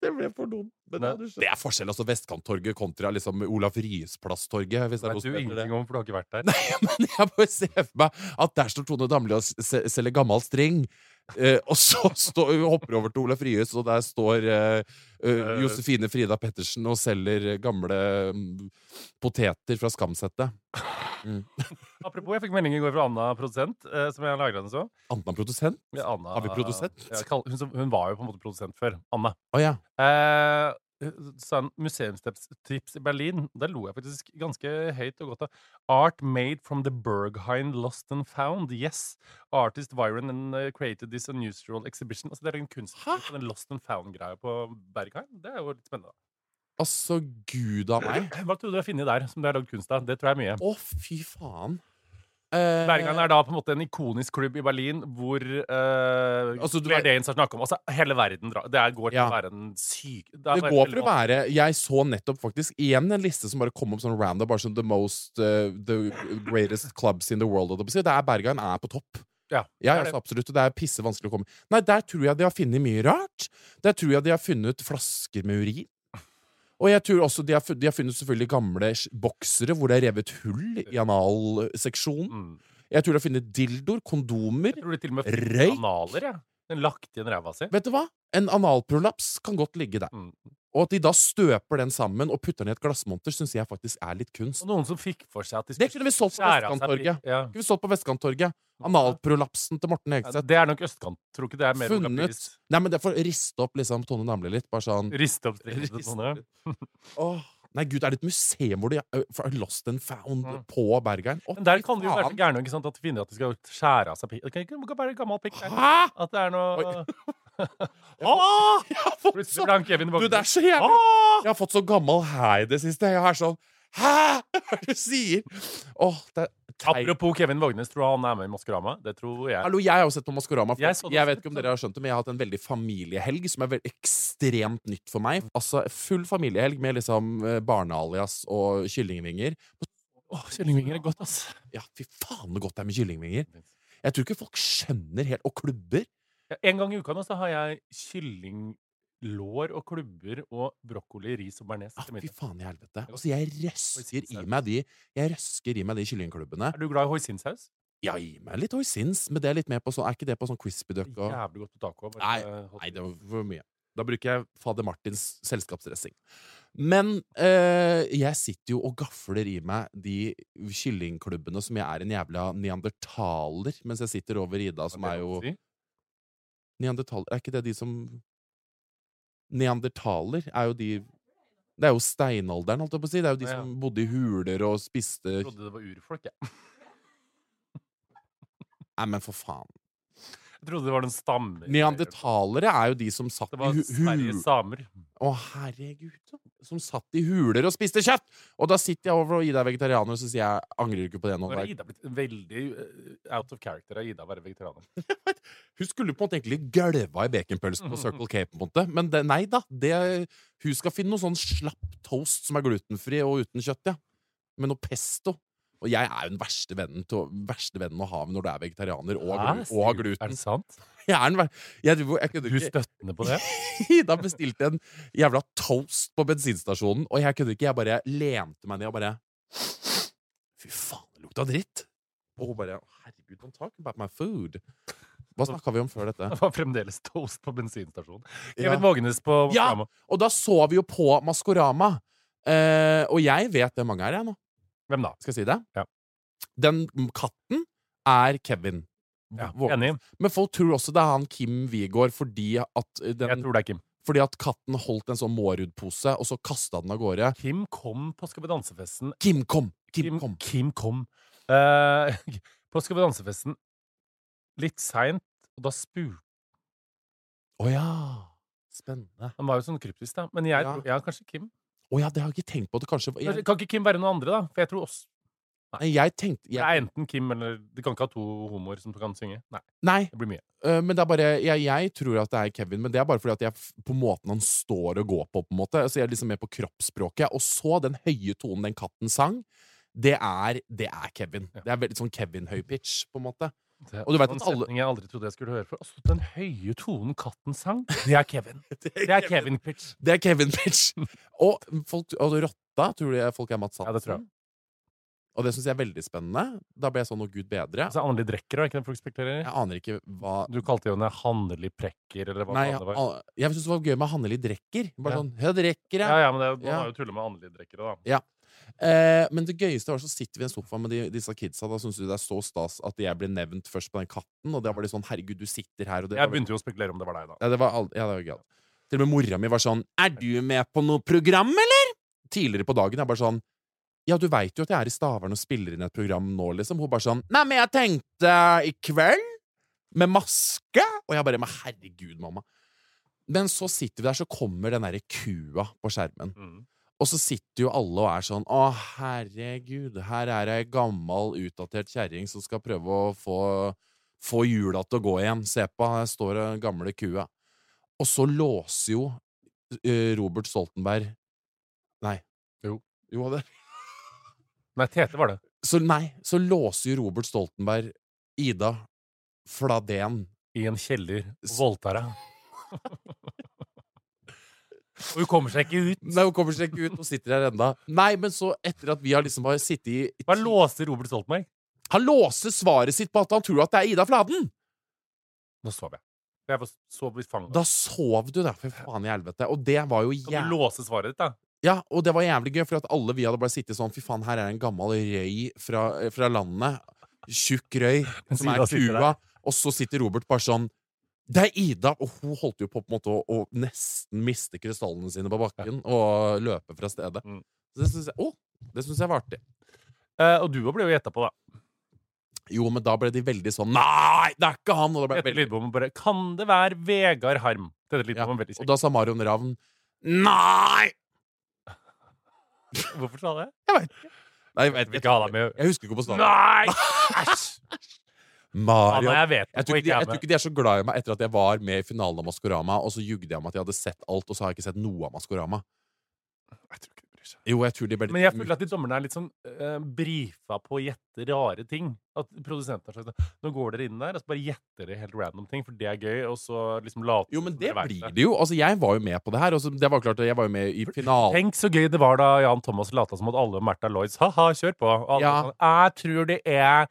[SPEAKER 3] Det ble for dumt. Men
[SPEAKER 2] Nei.
[SPEAKER 3] det, hadde skjedd. det er forskjell, altså. Vestkanttorget kontra liksom Olaf Ryes plass-torget. Hvis det er
[SPEAKER 2] Vet
[SPEAKER 3] noe som
[SPEAKER 2] du
[SPEAKER 3] heter det.
[SPEAKER 2] ingenting om, for du har ikke vært der.
[SPEAKER 3] Men jeg bare ser for meg at der står Tone Damli og s- se- selger gammel string. Eh, og så står, hun hopper over til Olaf Ryes, og der står eh, eh,
[SPEAKER 2] Eh.
[SPEAKER 3] Josefine Frida Pettersen og selger eh, gamle mm, poteter fra Skamsettet.
[SPEAKER 2] Apropos, jeg fikk melding i går fra Anna, produsent, eh, som jeg lagra den så.
[SPEAKER 3] Anna produsent?
[SPEAKER 2] Ja, Anna,
[SPEAKER 3] Har vi produsent?
[SPEAKER 2] Ja, kall- hun, som- hun var jo på en måte produsent før. Anna.
[SPEAKER 3] Å ja.
[SPEAKER 2] Eh, hun sa en museumstips i Berlin. Der lo jeg faktisk ganske høyt og godt av. Art made from the Berghain lost and found. Yes. Artist Viren and, eh, created this unusual exhibition. Altså, det er en kunst på den lost and found-greia på Berghain. Det er jo litt spennende.
[SPEAKER 3] Altså, gud a meg.
[SPEAKER 2] Hva tror du du har funnet der som det er lagd kunst av? Det tror jeg er mye.
[SPEAKER 3] Å, fy faen. Eh,
[SPEAKER 2] Bergan er da på en måte en ikonisk klubb i Berlin hvor uh,
[SPEAKER 3] Altså, du
[SPEAKER 2] Claire
[SPEAKER 3] vet-
[SPEAKER 2] Danes har snakket om Altså, hele verden drar Det er- går til
[SPEAKER 3] Ja.
[SPEAKER 2] å være en syk Det,
[SPEAKER 3] det går for å være Jeg så nettopp faktisk igjen en liste som bare kom opp sånn random. Bare sånn The most eh, The greatest clubs in the world. holdt jeg på å si. Det er Bergan er på topp.
[SPEAKER 2] Ja,
[SPEAKER 3] Ja,
[SPEAKER 2] det er
[SPEAKER 3] altså,
[SPEAKER 2] det.
[SPEAKER 3] absolutt. Og det er pisse vanskelig å komme Nei, der tror jeg de har funnet mye rart. Der tror jeg de har funnet flasker med urin. Og jeg tror også de har, fun- de har funnet selvfølgelig gamle sj- boksere hvor det er revet hull i analseksjonen.
[SPEAKER 2] mm.
[SPEAKER 3] Jeg tror de har funnet dildoer, kondomer
[SPEAKER 2] Jeg tror de til og med
[SPEAKER 3] Røyk.
[SPEAKER 2] finner analer, jeg. Den lagt igjen ræva si.
[SPEAKER 3] Vet du hva? En analprolaps kan godt ligge der.
[SPEAKER 2] Mm.
[SPEAKER 3] Og at de da støper den sammen og putter den i et glassmonter, syns jeg faktisk er litt kunst.
[SPEAKER 2] Og noen som fikk for seg at de
[SPEAKER 3] Det kunne vi solgt på
[SPEAKER 2] skjære av seg
[SPEAKER 3] Vestkanttorget.
[SPEAKER 2] pi- Ja.
[SPEAKER 3] Skulle vi solgt på Vestkanttorget. Analprolapsen til Morten Hegseth.
[SPEAKER 2] Mm. Det er nok østkant. Tror ikke det er mer
[SPEAKER 3] Funnet.
[SPEAKER 2] Olapiris.
[SPEAKER 3] Nei, men det er for å riste opp liksom Tone Damli litt. Bare sånn
[SPEAKER 2] Riste opp sånn, strikkene til
[SPEAKER 3] Riste
[SPEAKER 2] Tone.
[SPEAKER 3] Åh, nei, gud, er det et museum hvor de ø, for- Lost and Found
[SPEAKER 2] Mm.
[SPEAKER 3] på Bergeren? Å,
[SPEAKER 2] Men der
[SPEAKER 3] fy
[SPEAKER 2] kan de jo være så
[SPEAKER 3] faen.
[SPEAKER 2] gærne ikke sant, at de finner at de skal skjære av seg pikk. Det kan ikke det kan være gammel pikk. der.
[SPEAKER 3] Hæ?!
[SPEAKER 2] At det er noe
[SPEAKER 3] Oi. Åh, jeg har fått
[SPEAKER 2] Plutselig
[SPEAKER 3] så,
[SPEAKER 2] ble han Kevin
[SPEAKER 3] du, det er så jævlig Jeg har fått så gammel hæ i det siste. Jeg er sånn Hæ?! Hva er det du sier?! Åh, det er teit.
[SPEAKER 2] Apropos Kevin Vågnes, tror du han er med i Maskorama? Det tror jeg.
[SPEAKER 3] Hallo, jeg har jo sett på Maskorama.
[SPEAKER 2] Jeg
[SPEAKER 3] Jeg,
[SPEAKER 2] så det også.
[SPEAKER 3] jeg vet ikke om dere har skjønt det, men jeg har hatt en veldig familiehelg som er vel- ekstremt nytt for meg. Altså full familiehelg med liksom eh, barnealias og kyllingvinger.
[SPEAKER 2] Åh, Kyllingvinger er godt, ass.
[SPEAKER 3] Ja, fy faen så godt det er med kyllingvinger. Jeg tror ikke folk skjønner helt Og klubber.
[SPEAKER 2] Ja, en gang i uka nå så har jeg kyllinglår og klubber og brokkoli, ris og bearnés
[SPEAKER 3] Ah,
[SPEAKER 2] til
[SPEAKER 3] fy
[SPEAKER 2] middag.
[SPEAKER 3] faen i helvete. Altså, jeg røsker i meg de Jeg røsker i meg de kyllingklubbene.
[SPEAKER 2] Er du glad i hoisinsaus?
[SPEAKER 3] Ja, gi meg litt hoisins, men det er litt mer på sånn Er ikke det på sånn crispy duck og
[SPEAKER 2] Jævlig godt på taco. bare,
[SPEAKER 3] Nei,
[SPEAKER 2] eh, hot
[SPEAKER 3] Nei, det
[SPEAKER 2] wings.
[SPEAKER 3] var for mye. Da bruker jeg fader Martins selskapsdressing. Men eh, jeg sitter jo og gafler i meg de kyllingklubbene som jeg er en jævla neandertaler, mens jeg sitter over Ida, som
[SPEAKER 2] det
[SPEAKER 3] er
[SPEAKER 2] lov
[SPEAKER 3] jo
[SPEAKER 2] å si?
[SPEAKER 3] Neandertaler Er ikke det de som Neandertaler er jo de Det er jo steinalderen, holdt jeg på å si. Det er jo de
[SPEAKER 2] Ja, ja.
[SPEAKER 3] som bodde i huler og spiste
[SPEAKER 2] Jeg trodde det var urfolk, jeg.
[SPEAKER 3] Nei, men for faen.
[SPEAKER 2] Jeg trodde det var noen stammer.
[SPEAKER 3] Neandertalere er jo de som satt
[SPEAKER 2] Det
[SPEAKER 3] i
[SPEAKER 2] var
[SPEAKER 3] hu-
[SPEAKER 2] Sveriges
[SPEAKER 3] hu-
[SPEAKER 2] samer.
[SPEAKER 3] Å, herregud. da. Som satt i huler og spiste kjøtt! Og da sitter jeg over og Ida er vegetarianer, og så sier jeg angrer du ikke på det nå.
[SPEAKER 2] Nå er
[SPEAKER 3] Dag?»
[SPEAKER 2] Ida blitt veldig eh, out of character av Ida å være vegetarianer.
[SPEAKER 3] Hun skulle på en måte egentlig gølva i baconpølsen på Circle K, på en måte. Men det, nei da. Det, hun skal finne noe sånn slapp toast som er glutenfri og uten kjøtt, ja. Med noe pesto. Og jeg er jo den verste vennen, til, å- verste vennen å ha med når du er vegetarianer og, har
[SPEAKER 2] Hæ?
[SPEAKER 3] glu- og har
[SPEAKER 2] Er
[SPEAKER 3] gluten.
[SPEAKER 2] det sant?
[SPEAKER 3] Jeg er den ver- jeg, driver- jeg, kødder
[SPEAKER 2] Du
[SPEAKER 3] ikke.
[SPEAKER 2] støttende på det?
[SPEAKER 3] Ida bestilte en jævla toast på bensinstasjonen, og jeg kødder ikke. Jeg bare lente meg ned og bare Fy faen, det lukta dritt. Og hun bare Herregud, don't talk about my food. Hva snakka vi om før dette?
[SPEAKER 2] Det var fremdeles toast på bensinstasjonen.
[SPEAKER 3] Ja.
[SPEAKER 2] Kevin Vågenes på
[SPEAKER 3] Ja!
[SPEAKER 2] Fram-
[SPEAKER 3] Og da så vi jo på Maskorama. Eh, og jeg vet hvem mange er, jeg nå.
[SPEAKER 2] Hvem da?
[SPEAKER 3] Skal jeg si det?
[SPEAKER 2] Ja.
[SPEAKER 3] Den katten er Kevin.
[SPEAKER 2] Ja,
[SPEAKER 3] Vå-
[SPEAKER 2] enig.
[SPEAKER 3] Men folk tror også det er han Kim Wigård fordi at, eh,
[SPEAKER 2] Jeg
[SPEAKER 3] den,
[SPEAKER 2] tror det er Kim.
[SPEAKER 3] fordi at katten holdt en sånn Mårud-pose, og så kasta den av gårde.
[SPEAKER 2] Kim kom på Skal vi danse-festen.
[SPEAKER 3] Kim, kom! Kim,
[SPEAKER 2] Kim,
[SPEAKER 3] kom!
[SPEAKER 2] Kim kom. Eh, på Skal vi danse-festen litt seint, og da spurte
[SPEAKER 3] Å ja! Spennende.
[SPEAKER 2] Han var jo sånn kryptisk, da. Men jeg
[SPEAKER 3] Ja.
[SPEAKER 2] tror ja, kanskje Kim.
[SPEAKER 3] Å ja, det har jeg ikke tenkt på. Det kanskje var- jeg,
[SPEAKER 2] Kan ikke Kim være noen andre, da? For jeg tror også
[SPEAKER 3] nei, jeg tenkte
[SPEAKER 2] Det
[SPEAKER 3] jeg,
[SPEAKER 2] er enten Kim eller Du kan ikke ha to homoer som kan synge. Nei,
[SPEAKER 3] Nei,
[SPEAKER 2] det blir mye.
[SPEAKER 3] øh, men det er bare jeg, jeg tror at det er Kevin, men det er bare fordi at jeg f- på måten han står og går på, på en måte. Så jeg er liksom med på kroppsspråket. Og så den høye tonen den katten sang, det er, det er Kevin.
[SPEAKER 2] Ja.
[SPEAKER 3] Det er veldig sånn Kevin-høy pitch, på en måte.
[SPEAKER 2] Det,
[SPEAKER 3] Og du vet
[SPEAKER 2] en
[SPEAKER 3] at alle-
[SPEAKER 2] setning jeg aldri trodde jeg skulle høre før. Altså, den høye tonen katten sang, det er Kevin. Det er Kevin Pitch.
[SPEAKER 3] Det er Kevin-pitch! og folk, og rotta tror de folk er Mads Hansen.
[SPEAKER 2] Ja, det tror jeg.
[SPEAKER 3] Og det syns jeg er veldig spennende. Da ble jeg sånn å gud bedre.
[SPEAKER 2] Altså, Anneli Drecker, er ikke den folk spekulerer i?
[SPEAKER 3] Jeg aner ikke hva
[SPEAKER 2] Du kalte jo henne Hanneli Prekker, eller hva
[SPEAKER 3] Nei,
[SPEAKER 2] faen det var.
[SPEAKER 3] al- jeg syns det var gøy med Hanneli Drecker. Bare
[SPEAKER 2] Ja.
[SPEAKER 3] sånn, ja, det rekker jeg.
[SPEAKER 2] Ja, ja, men det, er- Man
[SPEAKER 3] Ja.
[SPEAKER 2] har jo tullet med Anneli Drekker, da.
[SPEAKER 3] Eh, men det gøyeste var så sitter vi i en sofa med de, disse kidsa. Da syns de det er så stas at jeg ble nevnt først på den katten. Og da var de sånn 'herregud, du sitter her', og det liksom
[SPEAKER 2] Jeg begynte jo å spekulere om det var deg, da.
[SPEAKER 3] ja, det var ald- ja, det var gøy. Til og med mora mi var sånn 'er du med på noe program, eller?' Tidligere på dagen. Jeg bare sånn 'ja, du veit jo at jeg er i Stavern og spiller inn et program nå', liksom. Hun bare sånn 'nei, men jeg tenkte i kveld', med maske. Og jeg bare 'men herregud, mamma'. Men så sitter vi der, så kommer den derre kua på skjermen.
[SPEAKER 2] Mm.
[SPEAKER 3] Og så sitter jo alle og er sånn Å, herregud, her er ei gammal, utdatert kjerring som skal prøve å få, få jula til å gå igjen. Se på, her står den gamle kua. Og så låser jo eh, Robert Stoltenberg Nei.
[SPEAKER 2] Jo.
[SPEAKER 3] Jo, det
[SPEAKER 2] Nei, Tete var det.
[SPEAKER 3] Så nei, så låser jo Robert Stoltenberg Ida Fladen
[SPEAKER 2] I en kjeller og
[SPEAKER 3] S-
[SPEAKER 2] voldtar deg. Og hun kommer seg ikke ut.
[SPEAKER 3] Nei, hun kommer seg ikke ut, hun sitter her enda. Nei, men så, etter at vi har liksom bare sittet i
[SPEAKER 2] Hva låser Robert Stoltenberg?
[SPEAKER 3] Han låser svaret sitt på at han tror at det er Ida Fladen!
[SPEAKER 2] Nå sov jeg. Jeg var- sov i fanget.
[SPEAKER 3] Da sov du, da, for faen i helvete. Og det var jo
[SPEAKER 2] Kan du
[SPEAKER 3] jævlig
[SPEAKER 2] låse svaret ditt, da?
[SPEAKER 3] Ja, og det var jævlig gøy, for at alle vi hadde bare sittet sånn Fy faen, her er en gammel røy fra, fra landet. Tjukk røy,
[SPEAKER 2] Men
[SPEAKER 3] som er
[SPEAKER 2] Ida sitter
[SPEAKER 3] kua. Og så sitter Robert bare sånn Det er Ida! Og hun holdt jo på på en måte å, å nesten miste krystallene sine på bakken og løpe fra stedet.
[SPEAKER 2] Mm.
[SPEAKER 3] Så det syns jeg, å, det synes jeg var artig.
[SPEAKER 2] Eh, og du ble jo gjetta på, da.
[SPEAKER 3] Jo, men da ble de veldig sånn Nei, det er ikke han! Og da, ble
[SPEAKER 2] Tete
[SPEAKER 3] veldig,
[SPEAKER 2] Lidbom bare Kan det være Vegard Harm? Tete
[SPEAKER 3] ja.
[SPEAKER 2] Lidbom var veldig
[SPEAKER 3] og
[SPEAKER 2] kjekk.
[SPEAKER 3] da sa Marion Ravn Nei!
[SPEAKER 2] Hvorfor sa han det?
[SPEAKER 3] Nei, jeg, vet,
[SPEAKER 2] Vil
[SPEAKER 3] jeg,
[SPEAKER 2] ikke ha deg med.
[SPEAKER 3] jeg husker ikke på staden.
[SPEAKER 2] Nei! Æsj! Han
[SPEAKER 3] Marion
[SPEAKER 2] er jeg vet
[SPEAKER 3] Jeg
[SPEAKER 2] om
[SPEAKER 3] tror,
[SPEAKER 2] og
[SPEAKER 3] ikke
[SPEAKER 2] ikke
[SPEAKER 3] de, jeg
[SPEAKER 2] er
[SPEAKER 3] tror
[SPEAKER 2] med.
[SPEAKER 3] ikke de er så glad i meg etter at jeg var med i finalen av Maskorama, og så jugde jeg om at jeg hadde sett alt, og så har jeg ikke sett noe av Maskorama.
[SPEAKER 2] Jeg tror ikke de bryr seg.
[SPEAKER 3] Jo, jeg tror de ble
[SPEAKER 2] Men jeg føler at de dommerne er litt sånn eh, brifa på å gjette rare ting. At produsenten har sagt sånn, Nå går dere inn der og så bare gjetter dere helt random ting, for det er gøy, og så liksom later
[SPEAKER 3] Jo, men det
[SPEAKER 2] dere vet
[SPEAKER 3] blir det jo. Altså, jeg var jo med på det her, og så, det var klart at jeg var jo med i finalen.
[SPEAKER 2] Tenk så gøy det var da Jan Thomas lata som at alle og Märtha Lloyds ha-ha, kjør på. Og alle
[SPEAKER 3] Ja.
[SPEAKER 2] var sånn, jeg tror det er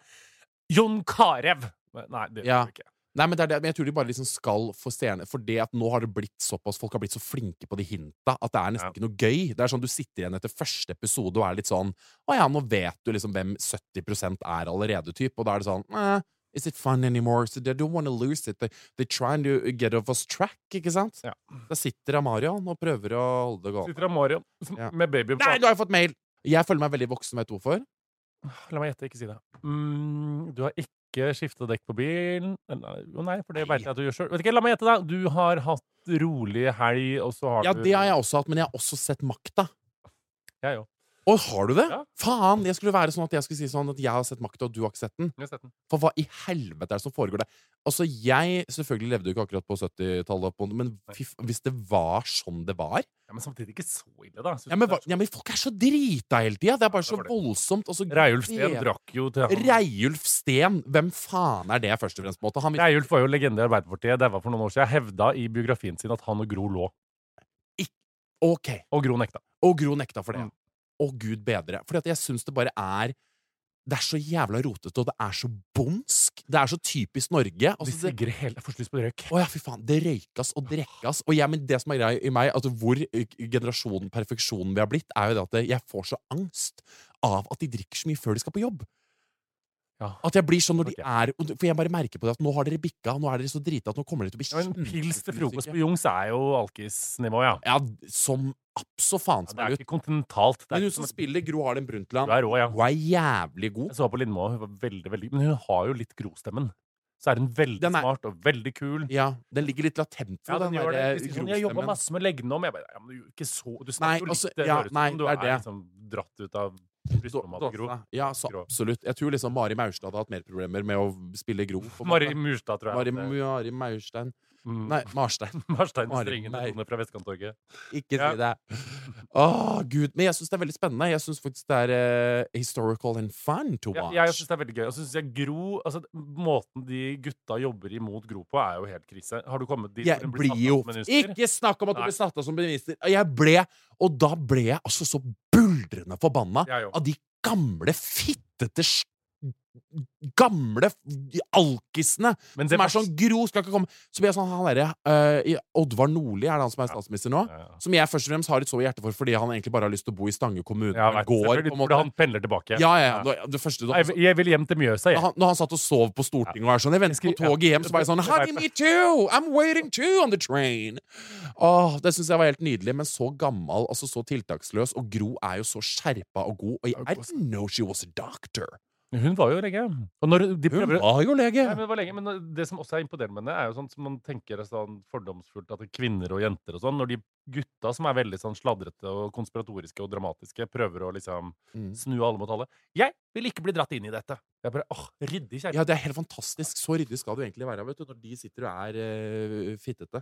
[SPEAKER 2] Jon Carew! Nei, det gjør
[SPEAKER 3] Ja.
[SPEAKER 2] vi ikke.
[SPEAKER 3] Nei, men, det er det, men jeg tror de bare liksom skal få stjerne For det at nå har det blitt såpass Folk har blitt så flinke på de hinta at det er nesten
[SPEAKER 2] Ja.
[SPEAKER 3] ikke noe gøy. Det er sånn Du sitter igjen etter første episode og er litt sånn Å ja, nå vet du liksom hvem 70 er allerede, typ Og da er det sånn eh, Is it fun anymore? So they don't want to lose it. They, they trying to get off us track, ikke sant?
[SPEAKER 2] Ja.
[SPEAKER 3] Da sitter Amarion og prøver å holde det gående.
[SPEAKER 2] Sitter Amarion som-
[SPEAKER 3] Ja.
[SPEAKER 2] med baby på
[SPEAKER 3] Nei, nå har jeg fått mail! Jeg føler meg veldig voksen, vet du hvorfor?
[SPEAKER 2] La meg gjette, ikke si det. Mm, du har ikke skifta dekk på bilen Eller, Jo, nei, for det veit jeg at du gjør sjøl. Vet ikke, La meg gjette, da. Du har hatt rolig helg, og så har
[SPEAKER 3] Ja,
[SPEAKER 2] du
[SPEAKER 3] det har jeg også hatt, men jeg har også sett makta.
[SPEAKER 2] Jeg òg.
[SPEAKER 3] Å, har du det?
[SPEAKER 2] Ja.
[SPEAKER 3] Faen! Jeg skulle være sånn at jeg skulle si sånn at jeg har sett makta, og du har ikke sett den.
[SPEAKER 2] Jeg har sett den.
[SPEAKER 3] For hva i helvete er det som foregår der? Altså, jeg selvfølgelig levde jo ikke akkurat på 70-tallet, på- men fy f- hvis det var sånn det var
[SPEAKER 2] Ja, men samtidig ikke så ille, da.
[SPEAKER 3] Ja, men, hva- ja, men folk er så drita hele tida! Det er bare så
[SPEAKER 2] Ja, det var det.
[SPEAKER 3] voldsomt. og så
[SPEAKER 2] Reiulf Steen
[SPEAKER 3] gre-
[SPEAKER 2] drakk jo til han.
[SPEAKER 3] Reiulf Steen! Hvem faen er det, først og fremst? på en måte? Han vil
[SPEAKER 2] Reiulf var jo legende i Arbeiderpartiet. Daua for noen år siden. Hevda i biografien sin at han og Gro lå.
[SPEAKER 3] Ok.
[SPEAKER 2] Og Gro nekta.
[SPEAKER 3] Og Gro nekta for det.
[SPEAKER 2] Mm.
[SPEAKER 3] Å, gud bedre. Fordi at jeg syns det bare er Det er så jævla rotete, og det er så bondsk. Det er så typisk Norge.
[SPEAKER 2] De
[SPEAKER 3] Altså, det,
[SPEAKER 2] sigrer hele Jeg får så lyst på røyk.
[SPEAKER 3] Å ja, fy faen. Det røykas og drekkas. Og jeg, men det som er greia i meg, at hvor eh, generasjonen perfeksjonen vi har blitt, er jo det at jeg får så angst av at de drikker så mye før de skal på jobb.
[SPEAKER 2] Ja.
[SPEAKER 3] At jeg blir sånn når
[SPEAKER 2] Ok.
[SPEAKER 3] de er og det- For jeg bare merker på det at nå har dere bikka, nå er dere så drita at nå kommer dere til å bli
[SPEAKER 2] Ja, men
[SPEAKER 3] kjempe-
[SPEAKER 2] pils til frokost
[SPEAKER 3] syke.
[SPEAKER 2] på Jungs er jo alkisnivå, ja.
[SPEAKER 3] Ja, som absolutt faen
[SPEAKER 2] ja. Det
[SPEAKER 3] spiller
[SPEAKER 2] er
[SPEAKER 3] ut.
[SPEAKER 2] ikke kontinentalt. Det
[SPEAKER 3] Men
[SPEAKER 2] er
[SPEAKER 3] hun
[SPEAKER 2] ikke
[SPEAKER 3] som
[SPEAKER 2] som-
[SPEAKER 3] spiller Gro Harlem
[SPEAKER 2] Du
[SPEAKER 3] Brundtland,
[SPEAKER 2] er rå, ja. Altså,
[SPEAKER 3] hun er jævlig god.
[SPEAKER 2] Jeg så på Lindmo, hun var veldig, veldig Men hun har jo litt grostemmen. Så er hun veldig
[SPEAKER 3] Den er-
[SPEAKER 2] smart og veldig kul.
[SPEAKER 3] Ja, Den ligger litt latent for
[SPEAKER 2] Ja, den gjør det.
[SPEAKER 3] der,
[SPEAKER 2] Hvis
[SPEAKER 3] eh,
[SPEAKER 2] ikke sånn, Jeg jobba
[SPEAKER 3] grostemmen.
[SPEAKER 2] masse med leggene om. Jeg bare, ja, men du, er jo ikke så, du snakker
[SPEAKER 3] Nei,
[SPEAKER 2] jo litt
[SPEAKER 3] altså,
[SPEAKER 2] Det
[SPEAKER 3] ja,
[SPEAKER 2] høres ut
[SPEAKER 3] nei,
[SPEAKER 2] som du
[SPEAKER 3] det
[SPEAKER 2] er,
[SPEAKER 3] er det.
[SPEAKER 2] liksom dratt ut av brystlomma på Gro.
[SPEAKER 3] Dåsene. Ja, så
[SPEAKER 2] Gro.
[SPEAKER 3] absolutt. Jeg tror liksom Mari Maurstad hadde hatt mer problemer med å spille Gro. på en
[SPEAKER 2] Mari
[SPEAKER 3] måte.
[SPEAKER 2] Murstad, tror
[SPEAKER 3] Mari,
[SPEAKER 2] jeg. at det-
[SPEAKER 3] Mari Maurstein
[SPEAKER 2] Mm.
[SPEAKER 3] Nei, Marstein.
[SPEAKER 2] Marstein
[SPEAKER 3] Mari-
[SPEAKER 2] Strengen
[SPEAKER 3] nei.
[SPEAKER 2] Tone fra Vestkanttorget.
[SPEAKER 3] Ikke
[SPEAKER 2] Ja.
[SPEAKER 3] si det. Å, gud. Men jeg syns det er veldig spennende. Jeg syns faktisk det er eh, historical and fun to
[SPEAKER 2] Ja,
[SPEAKER 3] watch.
[SPEAKER 2] jeg syns det er veldig gøy. Og så synes jeg Gro altså, Måten de gutta jobber imot Gro på, er jo helt krise. Har du kommet dit? hvor
[SPEAKER 3] Jeg
[SPEAKER 2] hun
[SPEAKER 3] blir
[SPEAKER 2] satt av
[SPEAKER 3] jo
[SPEAKER 2] som minister?
[SPEAKER 3] Ikke snakk om at du
[SPEAKER 2] Nei.
[SPEAKER 3] ble satt av som minister! Jeg ble Og da ble jeg altså så buldrende forbanna
[SPEAKER 2] Jeg jo.
[SPEAKER 3] av de gamle, fittete s- Gamle alkisene
[SPEAKER 2] Men det
[SPEAKER 3] som er
[SPEAKER 2] verste-
[SPEAKER 3] sånn Gro skal ikke komme Så blir jeg sånn Han derre eh, i- Oddvar Nordli, er det han som er
[SPEAKER 2] Ja.
[SPEAKER 3] statsminister nå?
[SPEAKER 2] Ja, ja.
[SPEAKER 3] Som jeg først og fremst har et sår i hjertet for fordi han egentlig bare har lyst til å bo i Stange kommune.
[SPEAKER 2] Ja, jeg
[SPEAKER 3] og
[SPEAKER 2] vet,
[SPEAKER 3] går,
[SPEAKER 2] selvfølgelig,
[SPEAKER 3] på en
[SPEAKER 2] fordi
[SPEAKER 3] måte.
[SPEAKER 2] han pendler tilbake.
[SPEAKER 3] Ja, ja, ja. Det- Det første, da,
[SPEAKER 2] Nei, jeg vil hjem til Mjøsa,
[SPEAKER 3] da
[SPEAKER 2] jeg.
[SPEAKER 3] han, når han satt og sov på Stortinget og er sånn Jeg venter
[SPEAKER 2] Jeg
[SPEAKER 3] på
[SPEAKER 2] skri- ja.
[SPEAKER 3] toget hjem, så var jeg sånn Honey, me too! I'm waiting too on the train! Åh, Det syns jeg var helt nydelig, men så gammel, altså så tiltaksløs, og Gro er jo så skjerpa og god, og jeg I didn't know she was a doctor.
[SPEAKER 2] Hun var jo lege. Og når de
[SPEAKER 3] Hun
[SPEAKER 2] prøver å-
[SPEAKER 3] var jo lege!
[SPEAKER 2] Nei, men det var lenge, men det som også er imponerende med henne, er jo sånn som man tenker er sånn fordomsfullt at det er kvinner og jenter og sånn, når de gutta som er veldig sånn sladrete og konspiratoriske og dramatiske, prøver å liksom
[SPEAKER 3] Mm.
[SPEAKER 2] snu alle mot alle. Jeg vil ikke bli dratt inn i dette. Jeg bare, åh, ryddig kjærlighet.
[SPEAKER 3] Ja, det er helt fantastisk. Så ryddig skal du egentlig være, vet du, når de sitter og er eh, fittete.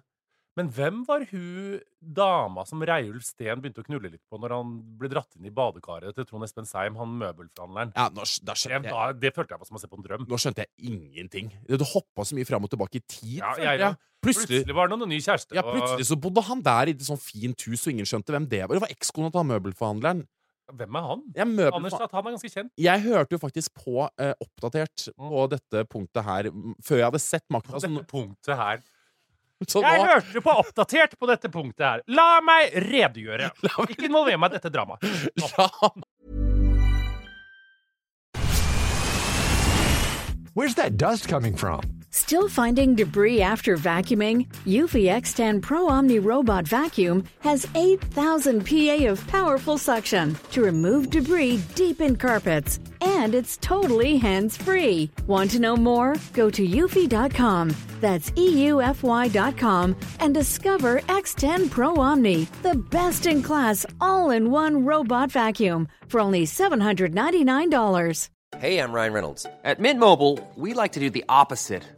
[SPEAKER 2] Men hvem var hun dama som Reiulf Steen begynte å knulle litt på når han ble dratt inn i badekaret til Trond Espen Seim, han møbelforhandleren?
[SPEAKER 3] Ja, nå, skj- da
[SPEAKER 2] Det,
[SPEAKER 3] skjønner jeg
[SPEAKER 2] da- det følte jeg var som å se på en drøm.
[SPEAKER 3] Nå skjønte jeg ingenting. Du hoppa så mye fram og tilbake i tid.
[SPEAKER 2] Ja,
[SPEAKER 3] følte
[SPEAKER 2] jeg-
[SPEAKER 3] jeg. Plutselig,
[SPEAKER 2] Plutselig var det noen ny kjæreste.
[SPEAKER 3] ja,
[SPEAKER 2] og-
[SPEAKER 3] plutselig så bodde han der i et sånt fint hus, og ingen skjønte hvem det var. Det var ekskona til han møbelforhandleren.
[SPEAKER 2] Hvem er han?
[SPEAKER 3] Jeg,
[SPEAKER 2] Anders,
[SPEAKER 3] møbelforhandler.
[SPEAKER 2] at han er ganske kjent.
[SPEAKER 3] jeg hørte jo faktisk på eh, Oppdatert på dette punktet her m, før jeg hadde sett makta.
[SPEAKER 2] Mm. På
[SPEAKER 3] Altså,
[SPEAKER 2] dette punktet her.
[SPEAKER 3] så
[SPEAKER 2] Jeg
[SPEAKER 3] nå,
[SPEAKER 2] hørte det på oppdatert på dette punktet her. La meg redegjøre. Ikke involver meg i dette dramaet. Nå.
[SPEAKER 3] ja,
[SPEAKER 9] Where's that dust coming from?
[SPEAKER 10] Still finding debris after vacuuming? Eufy X10 Pro Omni Robot Vacuum has 8,000 PA of powerful suction to remove debris deep in carpets. And it's totally hands free. Want to know more? Go to eufy.com. That's E EUFY.com and discover X10 Pro Omni, the best in class all in one robot vacuum for only $799.
[SPEAKER 7] Hey, I'm Ryan Reynolds. At Mint Mobile, we like to do the opposite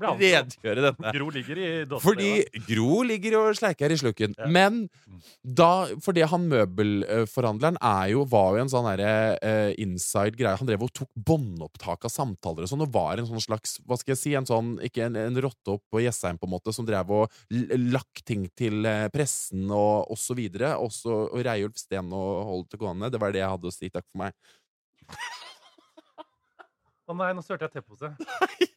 [SPEAKER 3] redegjøre dette.
[SPEAKER 2] Gro ligger i dottene.
[SPEAKER 3] Fordi Gro ligger og sleiker i slukken. Men da For det han møbelforhandleren er jo, var jo en sånn derre eh, inside greie. Han drev og tok båndopptak av samtaler og sånn, og var en sånn slags Hva skal jeg si? En sånn, ikke en, en rotte opp på Jessheim, på en måte, som drev og l- lakk ting til eh, pressen og, og så videre. Også og Reiulf Steen og holdt det gående. Det var det jeg hadde å si. Takk for meg.
[SPEAKER 2] Å nei, nå størte jeg teposet.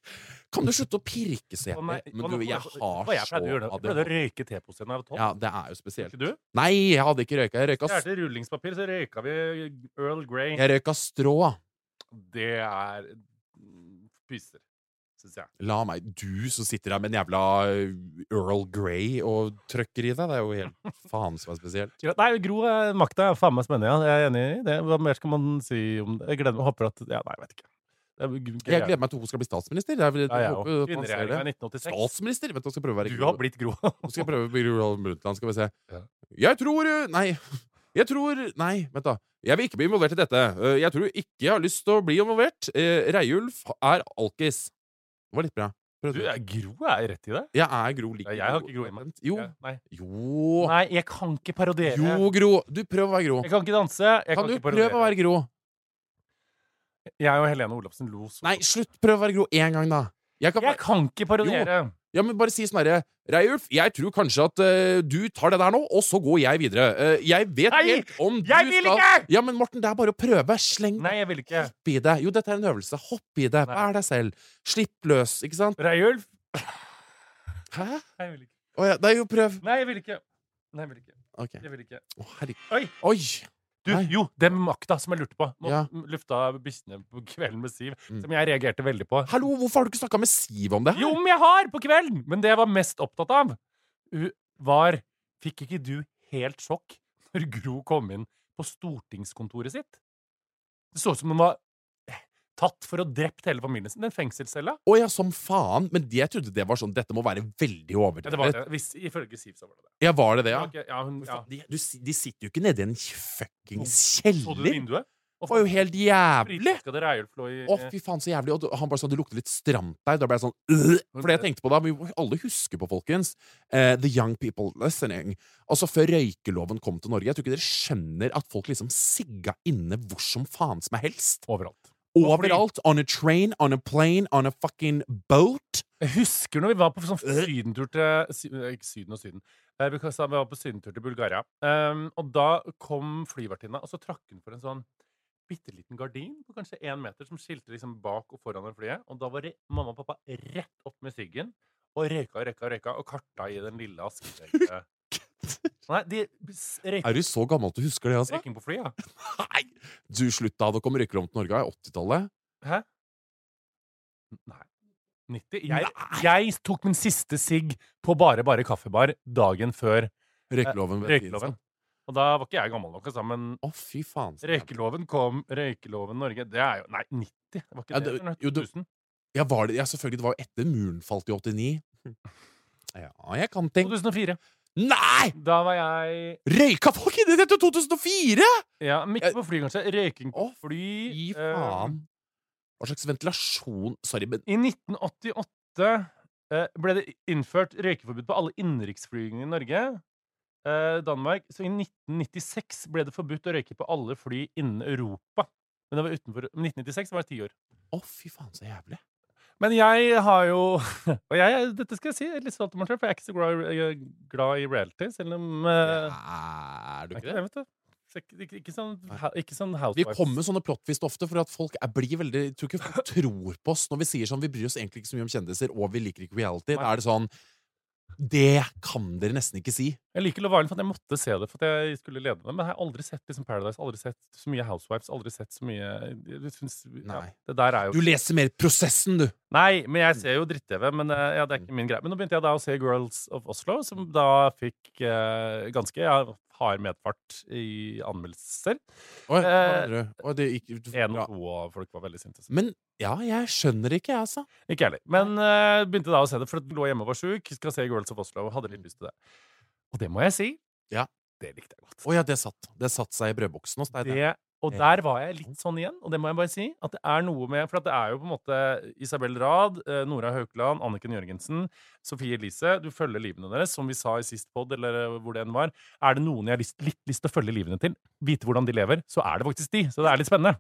[SPEAKER 3] Kan du slutte å pirke så
[SPEAKER 2] Å nei,
[SPEAKER 3] jævlig? Men
[SPEAKER 2] å,
[SPEAKER 3] du,
[SPEAKER 2] nå-
[SPEAKER 3] jeg har
[SPEAKER 2] vet du hva jeg
[SPEAKER 3] så
[SPEAKER 2] pleide å gjøre? Jeg pleide å
[SPEAKER 3] ADHD.
[SPEAKER 2] røyke teposet da jeg var tolv.
[SPEAKER 3] Ja, det er jo spesielt.
[SPEAKER 2] Ikke du?
[SPEAKER 3] Nei, jeg hadde ikke røyka. Jeg røyka,
[SPEAKER 2] Stjal rullingspapir, så røyka vi Earl Grey.
[SPEAKER 3] jeg røyka strå.
[SPEAKER 2] Det er mm, pyser, syns jeg.
[SPEAKER 3] La meg Du som sitter der med en jævla øh, Earl Grey og trøkker i deg, det er jo helt faen som er spesielt.
[SPEAKER 2] Ja, Nei, Gro eh, makta er faen meg spennende. Ja. Jeg er enig i det. Hva mer skal man si om det? Jeg gleder meg. Håper at Ja, nei, jeg vet ikke. Det er, gr-
[SPEAKER 3] Jeg gleder meg til hun skal bli statsminister. Det er, vel-
[SPEAKER 2] Ja, jeg
[SPEAKER 3] jeg
[SPEAKER 2] òg.
[SPEAKER 3] håper at man ser det.
[SPEAKER 2] Kvinneregjeringa i 1986.
[SPEAKER 3] Statsminister? Vet du, hun skal prøve å være
[SPEAKER 2] Du har blitt Gro.
[SPEAKER 3] Nå skal jeg prøve å bli Roald Brundtland, skal vi se.
[SPEAKER 2] Ja.
[SPEAKER 3] Jeg tror eh, Nei. Jeg tror Nei, vent, da. Jeg vil ikke bli involvert i dette. Eh, Jeg tror ikke jeg har lyst til å bli involvert. Eh, Reiulf er alkis. Det var litt bra.
[SPEAKER 2] Du,
[SPEAKER 3] Prøvde.
[SPEAKER 2] eh, Gro er rett i det.
[SPEAKER 3] Jeg er Gro
[SPEAKER 2] Ja,
[SPEAKER 3] like
[SPEAKER 2] Jeg har ikke Gro i meg.
[SPEAKER 3] Jo.
[SPEAKER 2] Ja, Nei.
[SPEAKER 3] Jo.
[SPEAKER 2] Nei, jeg kan ikke parodiere.
[SPEAKER 3] Jo, Gro. Du, prøv å være Gro.
[SPEAKER 2] Jeg kan ikke danse. Jeg
[SPEAKER 3] Kan du
[SPEAKER 2] ikke
[SPEAKER 3] prøve å være Gro?
[SPEAKER 2] Jeg og Helene Olafsen lo så
[SPEAKER 3] Nei, slutt. Prøv å være Gro én gang, da. Jeg kan,
[SPEAKER 2] Jeg kan ikke parodiere.
[SPEAKER 3] ja, men bare si sånn herre Reiulf, jeg tror kanskje at eh, du tar det der nå, og så går jeg videre. Eh, jeg vet
[SPEAKER 2] Nei,
[SPEAKER 3] helt om du
[SPEAKER 2] Jeg vil
[SPEAKER 3] skal
[SPEAKER 2] ikke!
[SPEAKER 3] Ja, men Morten, det er bare å prøve. Sleng
[SPEAKER 2] Nei, jeg vil ikke.
[SPEAKER 3] Hopp i det. Jo, dette er en øvelse. Hopp i det.
[SPEAKER 2] Nei.
[SPEAKER 3] Vær deg selv. Slipp løs, ikke sant?
[SPEAKER 2] Reiulf?
[SPEAKER 3] Hæ?
[SPEAKER 2] Nei, jeg vil ikke.
[SPEAKER 3] Å ja, nei, jo, prøv.
[SPEAKER 2] Nei, jeg vil ikke. Nei, jeg vil ikke.
[SPEAKER 3] Ok.
[SPEAKER 2] Jeg vil ikke.
[SPEAKER 3] Å, herregud.
[SPEAKER 2] Oi!
[SPEAKER 3] Oi!
[SPEAKER 2] Du,
[SPEAKER 3] Nei.
[SPEAKER 2] jo, det med makta som jeg lurte på. Nå
[SPEAKER 3] Ja.
[SPEAKER 2] lufta bikkjene på Kvelden med Siv,
[SPEAKER 3] Mm.
[SPEAKER 2] som jeg reagerte veldig på.
[SPEAKER 3] Hallo, hvorfor har du ikke snakka med Siv om det her?
[SPEAKER 2] Jo, men jeg har! På kvelden! Men det jeg var mest opptatt av, u- var Fikk ikke du helt sjokk når Gro kom inn på stortingskontoret sitt? Det så ut som hun var eh, tatt for å ha drept hele familien sin. Den fengselscella.
[SPEAKER 3] Å ja, som faen. Men det, jeg trodde det var sånn Dette må være veldig
[SPEAKER 2] Ja, det var
[SPEAKER 3] overdrevet.
[SPEAKER 2] det. Hvis, ifølge Siv, så var det det.
[SPEAKER 3] Ja, var det det, ja?
[SPEAKER 2] Ok, ja, hun, ja.
[SPEAKER 3] De, du, si- de sitter jo ikke nede i en fuckings
[SPEAKER 2] Så du
[SPEAKER 3] kjeller!
[SPEAKER 2] vinduet?
[SPEAKER 3] Det var jo helt jævlig!
[SPEAKER 2] Skal det Reiulf lå i eh,
[SPEAKER 3] Å, fy faen, så jævlig. Og du- han bare sa det lukter litt stramt der. Da ble jeg sånn øh, For det jeg tenkte på da Vi må alle huske på, folkens eh, The young people listening. Altså, før røykeloven kom til Norge Jeg tror ikke dere skjønner at folk liksom sigga inne hvor som faen som helst.
[SPEAKER 2] overalt.
[SPEAKER 3] Overalt. On a train, on a plane, on a fucking boat.
[SPEAKER 2] Jeg husker når vi var på sånn
[SPEAKER 3] Øh.
[SPEAKER 2] sydentur til Sy- eh, Ikke Syden og Syden. Eh, Vi kan- sa vi var på sydentur til Bulgaria. Um, og da kom flyvertinna, og så trakk hun for en sånn bitte liten gardin på kanskje én meter som skilte liksom bak og foran det flyet. Og da var det mamma og pappa rett opp med siggen og røyka og røyka og røyka og karta i den lille asken. Nei, de s- røyk-
[SPEAKER 3] Er du så gammel at du husker det, altså?
[SPEAKER 2] røyking på fly, ja.
[SPEAKER 3] Nei! Du, slutt da. Det kom røykelov til Norge i 80-tallet.
[SPEAKER 2] Hæ? Nei. 90? Jeg,
[SPEAKER 3] Nei.
[SPEAKER 2] jeg tok min siste sigg på Bare Bare kaffebar dagen før
[SPEAKER 3] Røykeloven. vet vi,
[SPEAKER 2] Eh, røykeloven.
[SPEAKER 3] altså.
[SPEAKER 2] Og da var ikke jeg gammel nok, altså, men
[SPEAKER 3] Å, fy faen. så jævlig.
[SPEAKER 2] røykeloven kom Røykeloven Norge, det er jo Nei, 90? Det var ikke
[SPEAKER 3] Ja,
[SPEAKER 2] det,
[SPEAKER 3] det-
[SPEAKER 2] eller
[SPEAKER 3] jo, det-
[SPEAKER 2] 2000?
[SPEAKER 3] Ja, var det, ja, selvfølgelig. Det var jo etter muren falt i 89. Ja, jeg kan tenke
[SPEAKER 2] 2004.
[SPEAKER 3] Nei!
[SPEAKER 2] Da var jeg
[SPEAKER 3] Røyka folk inni dette 2004?!
[SPEAKER 2] Ja, men ikke
[SPEAKER 3] Jeg-
[SPEAKER 2] på fly, kanskje. Røyking på
[SPEAKER 3] Å,
[SPEAKER 2] fly
[SPEAKER 3] Fy
[SPEAKER 2] eh,
[SPEAKER 3] faen. Hva slags ventilasjon Sorry, men
[SPEAKER 2] I 1988 eh, ble det innført røykeforbud på alle innenriksflygninger i Norge. Eh, Danmark. Så i 1996 ble det forbudt å røyke på alle fly innen Europa. Men det var utenfor, men 1996 var det ti år.
[SPEAKER 3] Å, fy faen, så jævlig.
[SPEAKER 2] Men jeg har jo Og jeg, dette skal jeg si, jeg er litt stolt av meg selv, for jeg er ikke så glad i, jeg er glad i reality, selv om eh,
[SPEAKER 3] Er
[SPEAKER 2] jeg er
[SPEAKER 3] du ikke
[SPEAKER 2] ikke
[SPEAKER 3] det?
[SPEAKER 2] det, vet du. Så Ikke, ikke, ikke sånn,
[SPEAKER 3] Nei.
[SPEAKER 2] ha- ikke sånn
[SPEAKER 3] Vi
[SPEAKER 2] housewives.
[SPEAKER 3] kommer med sånne plottvist ofte, for at folk er, blir veldig jeg Tror ikke folk tror på oss når vi sier sånn Vi bryr oss egentlig ikke så mye om kjendiser, og vi liker ikke reality. Da er det sånn Det kan dere nesten ikke si.
[SPEAKER 2] Jeg liker Love Island for at jeg måtte se det for at jeg skulle lede det. Men jeg har aldri sett liksom Paradise, aldri sett så mye Housewives, aldri sett så mye jeg synes, ja,
[SPEAKER 3] Nei.
[SPEAKER 2] Det der er jo
[SPEAKER 3] Du Mm. leser mer prosessen, du!
[SPEAKER 2] Nei, men jeg ser jo dritt-TV, men eh, ja, det er
[SPEAKER 3] Mm.
[SPEAKER 2] ikke min greie. Men nå begynte jeg da å se Girls of Oslo, som da fikk eh, ganske ja, hard medfart i anmeldelser.
[SPEAKER 3] Oi, hva
[SPEAKER 2] Eh,
[SPEAKER 3] mener du? Oi, det gikk du-
[SPEAKER 2] Én
[SPEAKER 3] ja.
[SPEAKER 2] og to, og folk var veldig sinte.
[SPEAKER 3] Men ja, jeg skjønner ikke, jeg, altså.
[SPEAKER 2] Ikke jeg heller. Men eh, begynte da å se det, for at lå hjemme og var sjuk. Skal se Girls of Oslo, og hadde litt lyst til det. Og det må jeg si,
[SPEAKER 3] Ja.
[SPEAKER 2] det likte jeg godt.
[SPEAKER 3] Å ja, det satt. Det satt seg i brødboksen hos deg. Det.
[SPEAKER 2] Det, Og der var jeg litt sånn igjen, og det må jeg bare si. At det er noe med For at det er jo på en måte Isabel Rad, eh, Nora Haukeland, Anniken Jørgensen, Sofie Elise. Du følger livene deres, som vi sa i sist pod, eller eh, hvor det enn var. Er det noen jeg har lyst, litt lyst til å følge livene til, vite hvordan de lever, så er det faktisk de. Så det er litt spennende.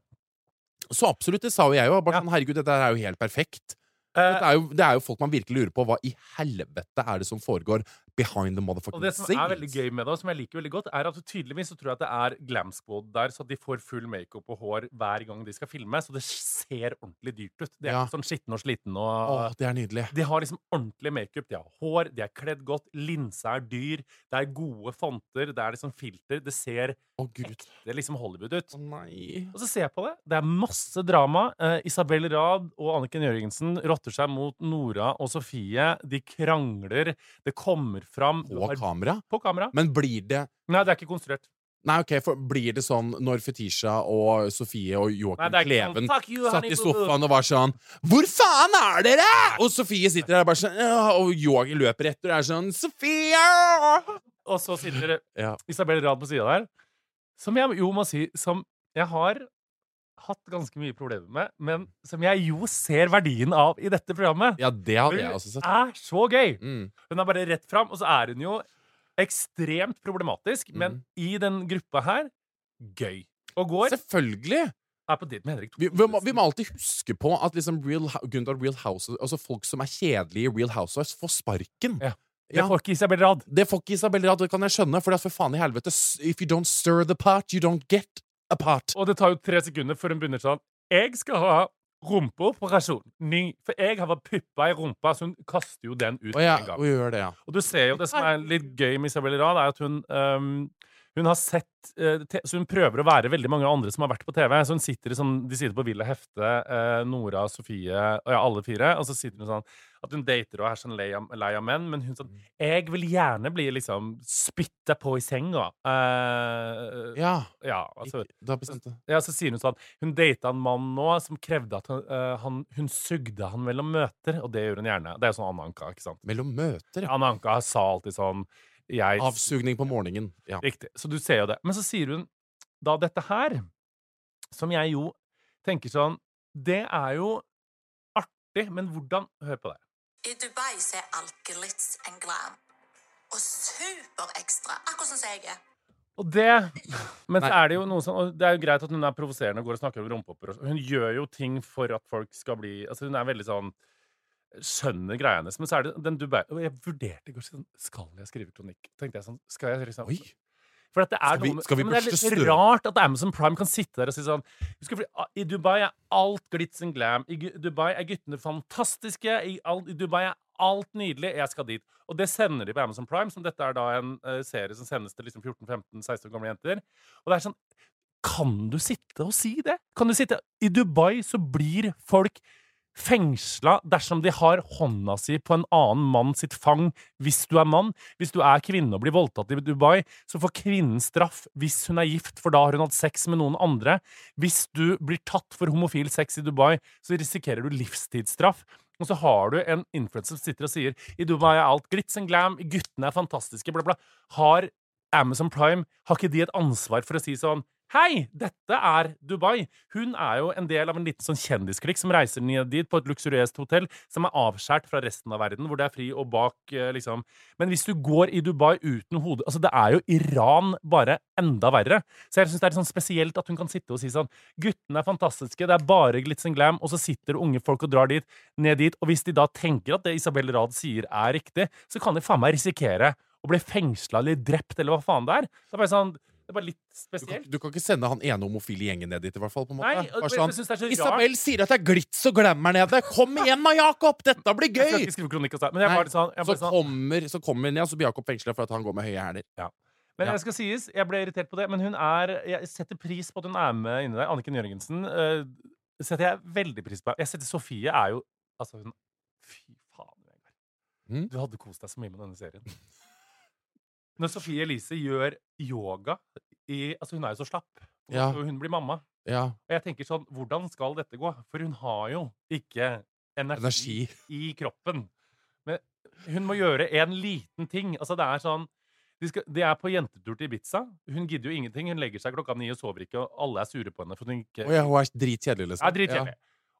[SPEAKER 3] Så absolutt, det sa jo jeg jo. Bare sånn, herregud, dette her er jo helt perfekt. Dette er jo, det er jo folk man virkelig lurer på. Hva i helvete er det som foregår behind the motherfucking
[SPEAKER 2] Og det som
[SPEAKER 3] scenes?
[SPEAKER 2] er veldig gøy med det, og som jeg liker veldig godt, er at tydeligvis så tror jeg at det er glam squad der, så de får full makeup og hår hver gang de skal filme, så det ser ordentlig dyrt ut. Det er
[SPEAKER 3] Ja.
[SPEAKER 2] ikke sånn skitten og sliten og
[SPEAKER 3] Åh, det er nydelig.
[SPEAKER 2] De har liksom ordentlig makeup, de har hår, de er kledd godt, linse er dyr, det er gode fonter, det er liksom filter, det ser
[SPEAKER 3] Å, gud.
[SPEAKER 2] ekte liksom Hollywood ut.
[SPEAKER 3] Å, nei.
[SPEAKER 2] Og så ser jeg på det. Det er masse drama. Eh, Isabel Rad og Anniken Jørgensen rotter seg mot Nora og Sofie. De krangler. Det kommer fram Du
[SPEAKER 3] På
[SPEAKER 2] har-
[SPEAKER 3] kamera.
[SPEAKER 2] På kamera.
[SPEAKER 3] Men blir det
[SPEAKER 2] Nei, det er ikke konstruert.
[SPEAKER 3] Nei, ok, for blir det sånn når Fetisha og Sofie og
[SPEAKER 2] Nei,
[SPEAKER 3] Joakim
[SPEAKER 2] det er ikke sånn,
[SPEAKER 3] Kleven
[SPEAKER 2] «Fuck you,
[SPEAKER 3] satt
[SPEAKER 2] honey,
[SPEAKER 3] i
[SPEAKER 2] boo-boo!»
[SPEAKER 3] sofaen og var sånn 'Hvor faen er dere?!' Og Sofie sitter der bare sånn «Ja», Og Joakim løper etter og er sånn 'Sofie!'
[SPEAKER 2] Og så sitter
[SPEAKER 3] Ja.
[SPEAKER 2] Isabel Rad på sida der, som jeg jo må si Som jeg har hatt ganske mye problemer med, men som jeg jo ser verdien av i dette programmet.
[SPEAKER 3] Ja, det hadde jeg også
[SPEAKER 2] Hun
[SPEAKER 3] sett.
[SPEAKER 2] er så gøy!
[SPEAKER 3] Mm.
[SPEAKER 2] Hun er bare rett fram, og så er hun jo ekstremt problematisk,
[SPEAKER 3] Mhm.
[SPEAKER 2] men i den gruppa her gøy. Og går
[SPEAKER 3] Selvfølgelig!
[SPEAKER 2] er på date med Henrik
[SPEAKER 3] Vi, vi, må, vi må alltid huske på at liksom Real, Hou- grunnen til at Real House, altså folk som er kjedelige i Real Housewives, får sparken.
[SPEAKER 2] Ja.
[SPEAKER 3] Ja.
[SPEAKER 2] Jeg får ikke Isabel Rad.
[SPEAKER 3] Det får ikke Isabel Rad, det kan jeg skjønne, for det er for faen i helvete s- If you don't stir the pot, you don't get a pot.
[SPEAKER 2] Og det tar jo tre sekunder før hun begynner sånn Jeg skal ha rumpeoperasjon. Ny. For jeg har vært puppa i rumpa, så hun kaster jo den ut
[SPEAKER 3] Og ja,
[SPEAKER 2] med en gang.
[SPEAKER 3] og gjør det, ja.
[SPEAKER 2] Og du ser jo det som er litt gøy med Isabel Rad, er at hun ehm, hun har sett, eh, te- så hun prøver å være veldig mange andre som har vært på TV. Så hun sitter i sånn, De sitter på Villa Hefte, eh, Nora, Sofie og ja, alle fire. Og så sitter hun sånn at hun dater og er sånn lei av, lei av menn. Men hun sånn Jeg vil gjerne bli liksom spytta på i senga. Eh,
[SPEAKER 3] Ja.
[SPEAKER 2] ja, altså
[SPEAKER 3] Ikke- Du har bestemt det.
[SPEAKER 2] ja, så sier hun sånn Hun data en mann nå som krevde at hun, eh, han, hun sugde han mellom møter, og det gjør hun gjerne. Det er jo sånn Anne Anka, ikke sant?
[SPEAKER 3] Mellom møter, ja.
[SPEAKER 2] Anne Anka sa alltid sånn jeg,
[SPEAKER 3] Avsugning på morgenen. Ja.
[SPEAKER 2] Riktig. Så du ser jo det. Men så sier hun da dette her, som jeg jo tenker sånn Det er jo artig, men hvordan Hør på det.
[SPEAKER 11] I Dubai så er alt glitz and glam. Og superekstra. Akkurat sånn som jeg er.
[SPEAKER 2] Og det Men så
[SPEAKER 3] Nei.
[SPEAKER 2] er det jo noe sånn og Det er jo greit at hun er provoserende og går og snakker om rumpehopper. og så- Hun gjør jo ting for at folk skal bli Altså Hun er veldig sånn Skjønner greia hennes. Men så er det den Dubai og Jeg vurderte i går sånn Skal jeg skrive kronikk? Tenkte jeg sånn Skal jeg liksom
[SPEAKER 3] Oi!
[SPEAKER 2] For at det er
[SPEAKER 3] Skal vi-
[SPEAKER 2] noe med-
[SPEAKER 3] skal vi
[SPEAKER 2] Ja, men det
[SPEAKER 3] børste
[SPEAKER 2] er litt
[SPEAKER 3] støv?
[SPEAKER 2] rart at Amazon Prime kan sitte der og si sånn Husker, fordi, ah, I Dubai er alt glitz and glam. I Gu- Dubai er guttene fantastiske. I, all, I Dubai er alt nydelig. Jeg skal dit. Og det sender de på Amazon Prime, som dette er da en eh, serie som sendes til liksom 14-15-16 år gamle jenter. Og det er sånn Kan du sitte og si det? Kan du sitte I Dubai så blir folk fengsla dersom de har hånda si på en annen mann sitt fang hvis du er mann. Hvis du er kvinne og blir voldtatt i Dubai, så får kvinnen straff hvis hun er gift, for da har hun hatt sex med noen andre. Hvis du blir tatt for homofil sex i Dubai, så risikerer du livstidsstraff. Og så har du en influenser som sitter og sier i Dubai er alt glitz and glam, guttene er fantastiske, bla, bla. Har Amazon Prime, har ikke de et ansvar for å si sånn Hei, dette er Dubai. Hun er jo en del av en liten sånn kjendisklikk som reiser ned dit på et luksuriøst hotell som er avskåret fra resten av verden, hvor det er fri og bak, eh, liksom. Men hvis du går i Dubai uten hode Altså, det er jo Iran, bare enda verre. Så jeg syns det er litt sånn spesielt at hun kan sitte og si sånn Guttene er fantastiske, det er bare glitz and glam, og så sitter det unge folk og drar dit, ned dit, og hvis de da tenker at det Isabel Rad sier, er riktig, så kan de faen meg risikere å bli fengsla eller drept eller hva faen det er. Det er bare sånn Det er bare litt
[SPEAKER 3] Du kan,
[SPEAKER 2] spesielt.
[SPEAKER 3] du kan ikke sende han ene homofile gjengen ned dit, i hvert fall. på en måte.
[SPEAKER 2] Nei, og-
[SPEAKER 3] Bare sånn,
[SPEAKER 2] men jeg synes det er så rart.
[SPEAKER 3] Isabel sier at det er glitz og glam her nede! Kom igjen da, Jakob! Dette blir
[SPEAKER 2] Jeg skal
[SPEAKER 3] gøy!
[SPEAKER 2] ikke skrive kronikk hos deg, men jeg
[SPEAKER 3] Nei.
[SPEAKER 2] var litt sånn, jeg
[SPEAKER 3] Så
[SPEAKER 2] ble sånn
[SPEAKER 3] kommer, så kommer ned, og så blir Jakob fengsla for at han går med høye hæler.
[SPEAKER 2] Men
[SPEAKER 3] Ja.
[SPEAKER 2] jeg skal sies, jeg ble irritert på det, men hun er Jeg setter pris på at hun er med inni der. Anniken Jørgensen eh, setter jeg veldig pris på. Jeg setter Sofie er jo Altså, hun Fy faen. Vegard.
[SPEAKER 3] Mm.
[SPEAKER 2] Du hadde kost deg så mye med denne serien. Når Sofie Elise gjør yoga i Altså, hun er jo så slapp. Og
[SPEAKER 3] Ja.
[SPEAKER 2] hun blir mamma.
[SPEAKER 3] Ja.
[SPEAKER 2] Og jeg tenker sånn Hvordan skal dette gå? For hun har jo ikke energi,
[SPEAKER 3] Energi.
[SPEAKER 2] i kroppen. Men hun må gjøre en liten ting. Altså, det er sånn De De, skal, de er på jentetur til Ibiza. Hun gidder jo ingenting. Hun legger seg klokka ni og sover ikke, og alle er sure på henne. For hun ikke
[SPEAKER 3] Å ja, hun er dritkjedelig,
[SPEAKER 2] Ja,
[SPEAKER 3] liksom.
[SPEAKER 2] dritkjedelig.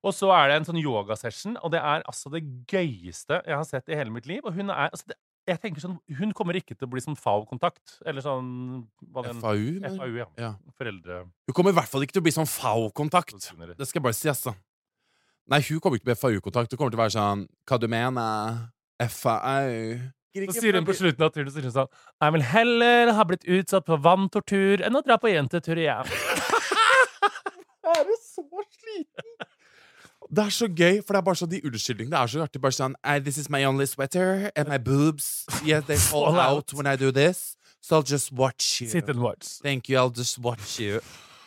[SPEAKER 2] Og så er det en sånn yogasession, og det er altså det gøyeste jeg har sett i hele mitt liv. Og hun er altså det, jeg tenker sånn, Hun kommer ikke til å bli sånn FAO-kontakt. Eller sånn hva den-
[SPEAKER 3] FAU, men-
[SPEAKER 2] FAU, ja.
[SPEAKER 3] Ja.
[SPEAKER 2] Foreldre...
[SPEAKER 3] Hun kommer i hvert fall ikke til å bli sånn FAO-kontakt.
[SPEAKER 2] Kostumerer.
[SPEAKER 3] Det skal jeg bare si, altså. Nei, hun kommer ikke til å bli FAU-kontakt. Hun kommer til å være sånn Hva du mener? FAU?
[SPEAKER 2] Så sier hun på slutten av turen så sier hun sånn Jeg vil heller ha blitt utsatt for vanntortur enn å dra på jentetur igjen.
[SPEAKER 3] Er du så sliten? Det er så gøy, for det er bare sånn de unnskyldningene. Det er så artig. Bare sånn "I- This is my only sweater, and my boobs Yeah, they fall
[SPEAKER 2] Fall
[SPEAKER 3] out
[SPEAKER 2] out.
[SPEAKER 3] when I do this, so I'll just watch you.
[SPEAKER 2] Sit and watch.
[SPEAKER 3] Thank you, I'll just watch you.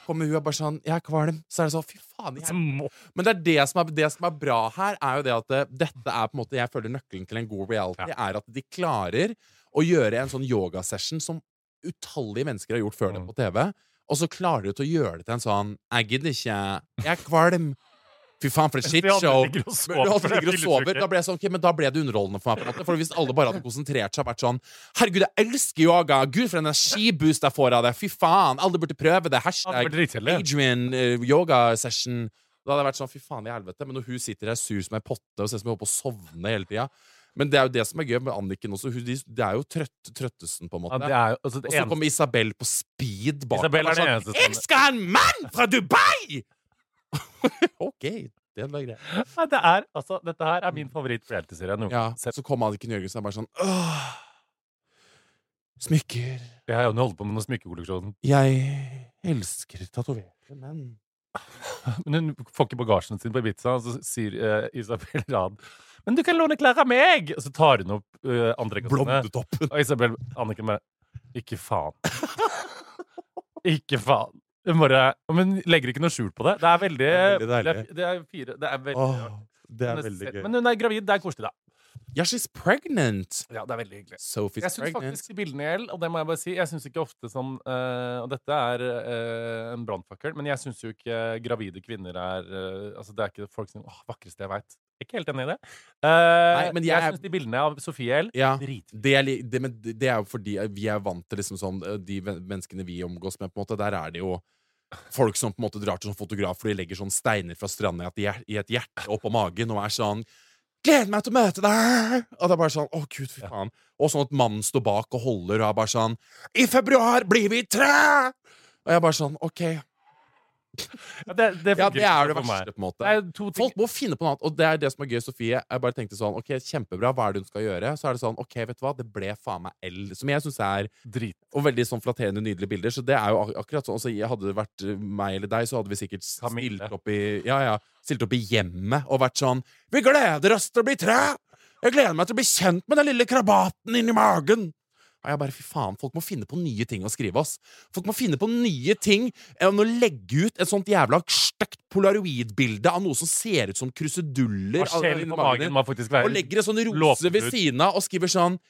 [SPEAKER 3] Kommer hun og bare sånn Jeg er kvalm. Så er det sånn Fy faen. Jeg...
[SPEAKER 2] Så Altså, må-
[SPEAKER 3] Men det, er det, som er, det som er bra her, er jo det at eh, dette er på en måte Jeg føler nøkkelen til en god reality er at de klarer å gjøre en sånn yogasession som utallige mennesker har gjort før
[SPEAKER 2] Mm.
[SPEAKER 3] det på TV, og så klarer de til å gjøre det til en sånn Jeg gidder ikke. Jeg er kvalm. Fy faen, for et
[SPEAKER 2] Vi andre
[SPEAKER 3] shitshow!
[SPEAKER 2] ligger og sover,
[SPEAKER 3] Men alle
[SPEAKER 2] for det er
[SPEAKER 3] ligger og sover.
[SPEAKER 2] fyllesyke.
[SPEAKER 3] Da ble jeg sånn, ok, men da ble det underholdende for meg. på en måte For Hvis alle bare hadde konsentrert seg og vært sånn Herregud, jeg elsker yoga! Gud, for en energiboost jeg får av det! Fy faen! Alle burde prøve det!
[SPEAKER 2] Ja, det
[SPEAKER 3] Hashtag
[SPEAKER 2] blir dritkjedelig.
[SPEAKER 3] Adrian eh, yoga session. Da hadde jeg vært sånn, fy faen i helvete. Men når hun sitter der sur som ei potte og ser ut som hun holder på å sovne hele tida Men det er jo det som er gøy med Anniken også. Hun, de, det er jo trøtt, trøttesten, på en
[SPEAKER 2] Ja,
[SPEAKER 3] måte.
[SPEAKER 2] det er jo altså,
[SPEAKER 3] og
[SPEAKER 2] det
[SPEAKER 3] så
[SPEAKER 2] eneste-
[SPEAKER 3] kommer Isabel på speed bak.
[SPEAKER 2] Isabel er
[SPEAKER 3] Bare
[SPEAKER 2] den eneste
[SPEAKER 3] sånn,
[SPEAKER 2] som-
[SPEAKER 3] Jeg skal ha en mann fra Dubai! OK, det var greit.
[SPEAKER 2] Nei, det er, altså, Dette her er min favoritt-reality-serie noen
[SPEAKER 3] Ja,
[SPEAKER 2] gang. Selv-
[SPEAKER 3] så kom Anniken Jørgensen og bare sånn Åh, Smykker.
[SPEAKER 2] Jeg har jo nå holdt på med noen smykkekolleksjon.
[SPEAKER 3] Jeg elsker tatoverte menn.
[SPEAKER 2] Men hun får ikke bagasjen sin på Ibiza, og så sier eh, Isabel Rad Men du kan låne klær av meg! Og så tar hun opp uh, andrekassene.
[SPEAKER 3] Blondetoppen.
[SPEAKER 2] Og Isabel Anniken bare Ikke faen. ikke faen. Hun bare Men hun legger ikke noe skjul på det. Det er veldig
[SPEAKER 3] Det er veldig
[SPEAKER 2] Det er,
[SPEAKER 3] deilig.
[SPEAKER 2] det er fire Det er veldig
[SPEAKER 3] Åh,
[SPEAKER 2] rart.
[SPEAKER 3] det er
[SPEAKER 2] Men
[SPEAKER 3] veldig gøy.
[SPEAKER 2] Men hun er gravid. Det er koselig, da.
[SPEAKER 3] Yeah, she's pregnant!
[SPEAKER 2] Ja, det er veldig hyggelig.
[SPEAKER 3] Sophie's
[SPEAKER 2] Jeg syns
[SPEAKER 3] pregnant.
[SPEAKER 2] faktisk de bildene jeg gjelder, og det må jeg bare si Jeg syns ikke ofte som eh, Og dette er eh, en brannfakkel, men jeg syns jo ikke gravide kvinner er eh, Altså, det er ikke folk som Åh, vakreste jeg veit. Ikke helt enig i det. Eh,
[SPEAKER 3] men
[SPEAKER 2] jeg
[SPEAKER 3] jeg er-
[SPEAKER 2] syns de bildene av Sofie L
[SPEAKER 3] Ja.
[SPEAKER 2] Dritfine.
[SPEAKER 3] Det er, li- det, men det er jo fordi vi er vant til liksom sånn, eh, de ven- menneskene vi omgås med. på en måte Der er det jo folk som på en måte drar til sånn fotograf for de legger sånn steiner fra stranda i et hjer- i et hjerte oppå magen og er sånn 'Gleder meg til å møte deg!' Og det er bare sånn 'Å, gud, fy faen'. Og sånn at mannen står bak og holder og er bare sånn 'I februar blir vi tre!' Og jeg er bare sånn 'OK'.
[SPEAKER 2] Ja, det, det
[SPEAKER 3] Ja,
[SPEAKER 2] funker
[SPEAKER 3] det
[SPEAKER 2] ikke
[SPEAKER 3] er det
[SPEAKER 2] for meg.
[SPEAKER 3] verste, på en måte.
[SPEAKER 2] Det er to ting
[SPEAKER 3] Folk må finne på noe annet, og det er det som er gøy, Sofie. Jeg bare tenkte sånn, ok, kjempebra, hva er det hun skal gjøre? Så er det sånn, ok, vet du hva, det ble faen meg L, som jeg synes er
[SPEAKER 2] Drit.
[SPEAKER 3] og veldig sånn flatterende, nydelige bilder. Så det er jo ak akkurat sånn. Altså, jeg hadde det vært eh, meg eller deg, så hadde vi sikkert
[SPEAKER 2] Camille.
[SPEAKER 3] stilt opp i Ja, ja, stilt opp i hjemmet og vært sånn Vi gleder oss til å bli tre! Jeg gleder meg til å bli kjent med den lille krabaten inni magen! Og jeg bare, fy faen, Folk må finne på nye ting å skrive, ass. Folk må finne på nye ting enn å legge ut et sånt jævla stygt polaroidbilde av noe som ser ut som kruseduller. av-
[SPEAKER 2] Skjell
[SPEAKER 3] inni
[SPEAKER 2] på
[SPEAKER 3] magen din.
[SPEAKER 2] magen må faktisk være
[SPEAKER 3] Og legger en sånn rose
[SPEAKER 2] Låten
[SPEAKER 3] ved
[SPEAKER 2] ut.
[SPEAKER 3] siden av og skriver sånn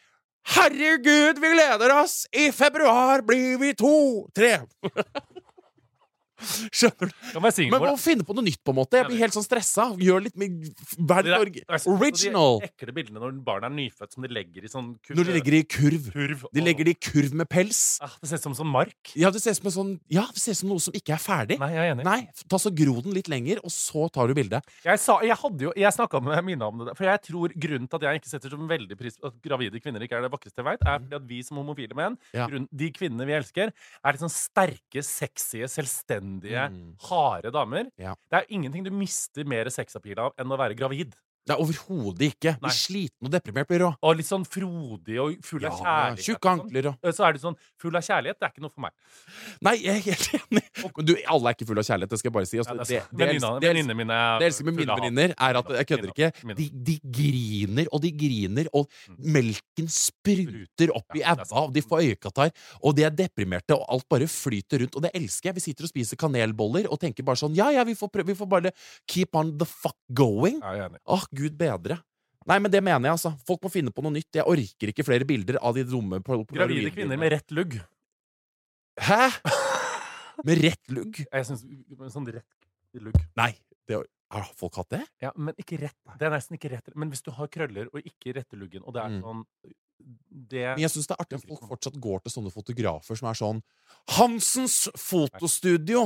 [SPEAKER 3] Herregud, vi gleder oss! I februar blir vi to, tre! Skjønner du?
[SPEAKER 2] Kan være
[SPEAKER 3] Men
[SPEAKER 2] singelmor.
[SPEAKER 3] man må finne på noe nytt, på en måte. Jeg blir helt sånn stressa. Gjør litt mer Vær
[SPEAKER 2] Det er-
[SPEAKER 3] litt
[SPEAKER 2] jeg synes
[SPEAKER 3] org-
[SPEAKER 2] også
[SPEAKER 3] original!
[SPEAKER 2] De ekle bildene når barn er nyfødt, som de legger i sånn kurv.
[SPEAKER 3] Når de legger det i kurv.
[SPEAKER 2] kurv
[SPEAKER 3] De legger det i kurv med pels.
[SPEAKER 2] ah, Det ser ut som sånn mark.
[SPEAKER 3] Ja, det ser ut som en sånn Ja, det ser ut som noe som ikke er ferdig.
[SPEAKER 2] Nei, jeg er enig.
[SPEAKER 3] Nei, ta så gro den litt lenger, og så tar du bildet.
[SPEAKER 2] Jeg, sa, jeg hadde jo, jeg snakket med Mina om det, der, for jeg tror grunnen til at jeg ikke setter som veldig pris på at gravide kvinner ikke er det vakreste jeg vet, er fordi at vi som homofile menn,
[SPEAKER 3] Mm. Ja.
[SPEAKER 2] grunn, de kvinnene vi elsker, er litt sånn sterke, sexy, selvstendige, harde damer.
[SPEAKER 3] Mm. Ja.
[SPEAKER 2] Det er ingenting du mister mer sexappeal av enn å være gravid.
[SPEAKER 3] Det er overhodet ikke.
[SPEAKER 2] Nei.
[SPEAKER 3] Blir sliten og deprimert, blir du òg.
[SPEAKER 2] Og litt sånn frodig og full av
[SPEAKER 3] Ja,
[SPEAKER 2] kjærlighet. liksom.
[SPEAKER 3] Tjukke ankler og
[SPEAKER 2] Så er du sånn full av kjærlighet. Det er ikke noe for meg.
[SPEAKER 3] Nei, jeg er helt enig. Men du, alle er ikke full av kjærlighet, det skal jeg bare si. Altså,
[SPEAKER 2] Ja, det er
[SPEAKER 3] det,
[SPEAKER 2] sant.
[SPEAKER 3] det, jeg
[SPEAKER 2] Venninna-
[SPEAKER 3] elsker- det, jeg
[SPEAKER 2] venninnene
[SPEAKER 3] elsker-
[SPEAKER 2] mine er
[SPEAKER 3] det jeg elsker med
[SPEAKER 2] fulle
[SPEAKER 3] mine
[SPEAKER 2] av hat.
[SPEAKER 3] venninner, er at jeg kødder ikke.
[SPEAKER 2] Mine. Mm.
[SPEAKER 3] De, de griner og de griner, og melken spruter opp i
[SPEAKER 2] Ja, det er
[SPEAKER 3] æva, og de får øyekatarr, og de er deprimerte, og alt bare flyter rundt. Og det elsker jeg. Vi sitter og spiser kanelboller og tenker bare sånn Ja, ja, vi får, prøve, vi får bare keep on the fuck going.
[SPEAKER 2] Jeg er enig.
[SPEAKER 3] Åh, gud bedre. Nei, men det mener jeg, altså. Folk må finne på noe nytt. Jeg orker ikke flere bilder av de dumme pol-
[SPEAKER 2] Gravide
[SPEAKER 3] polaroidbildene.
[SPEAKER 2] kvinner med rett lugg.
[SPEAKER 3] Hæ?! Med rett lugg?
[SPEAKER 2] Jeg synes, med sånn rett lugg.
[SPEAKER 3] Nei. Det, har folk hatt det?
[SPEAKER 2] Ja, men ikke rett. Det er nesten ikke rett. Men hvis du har krøller og ikke rette luggen, og det er
[SPEAKER 3] Mm.
[SPEAKER 2] sånn det
[SPEAKER 3] Men jeg syns det er artig at folk fortsatt går til sånne fotografer som er sånn Hansens fotostudio!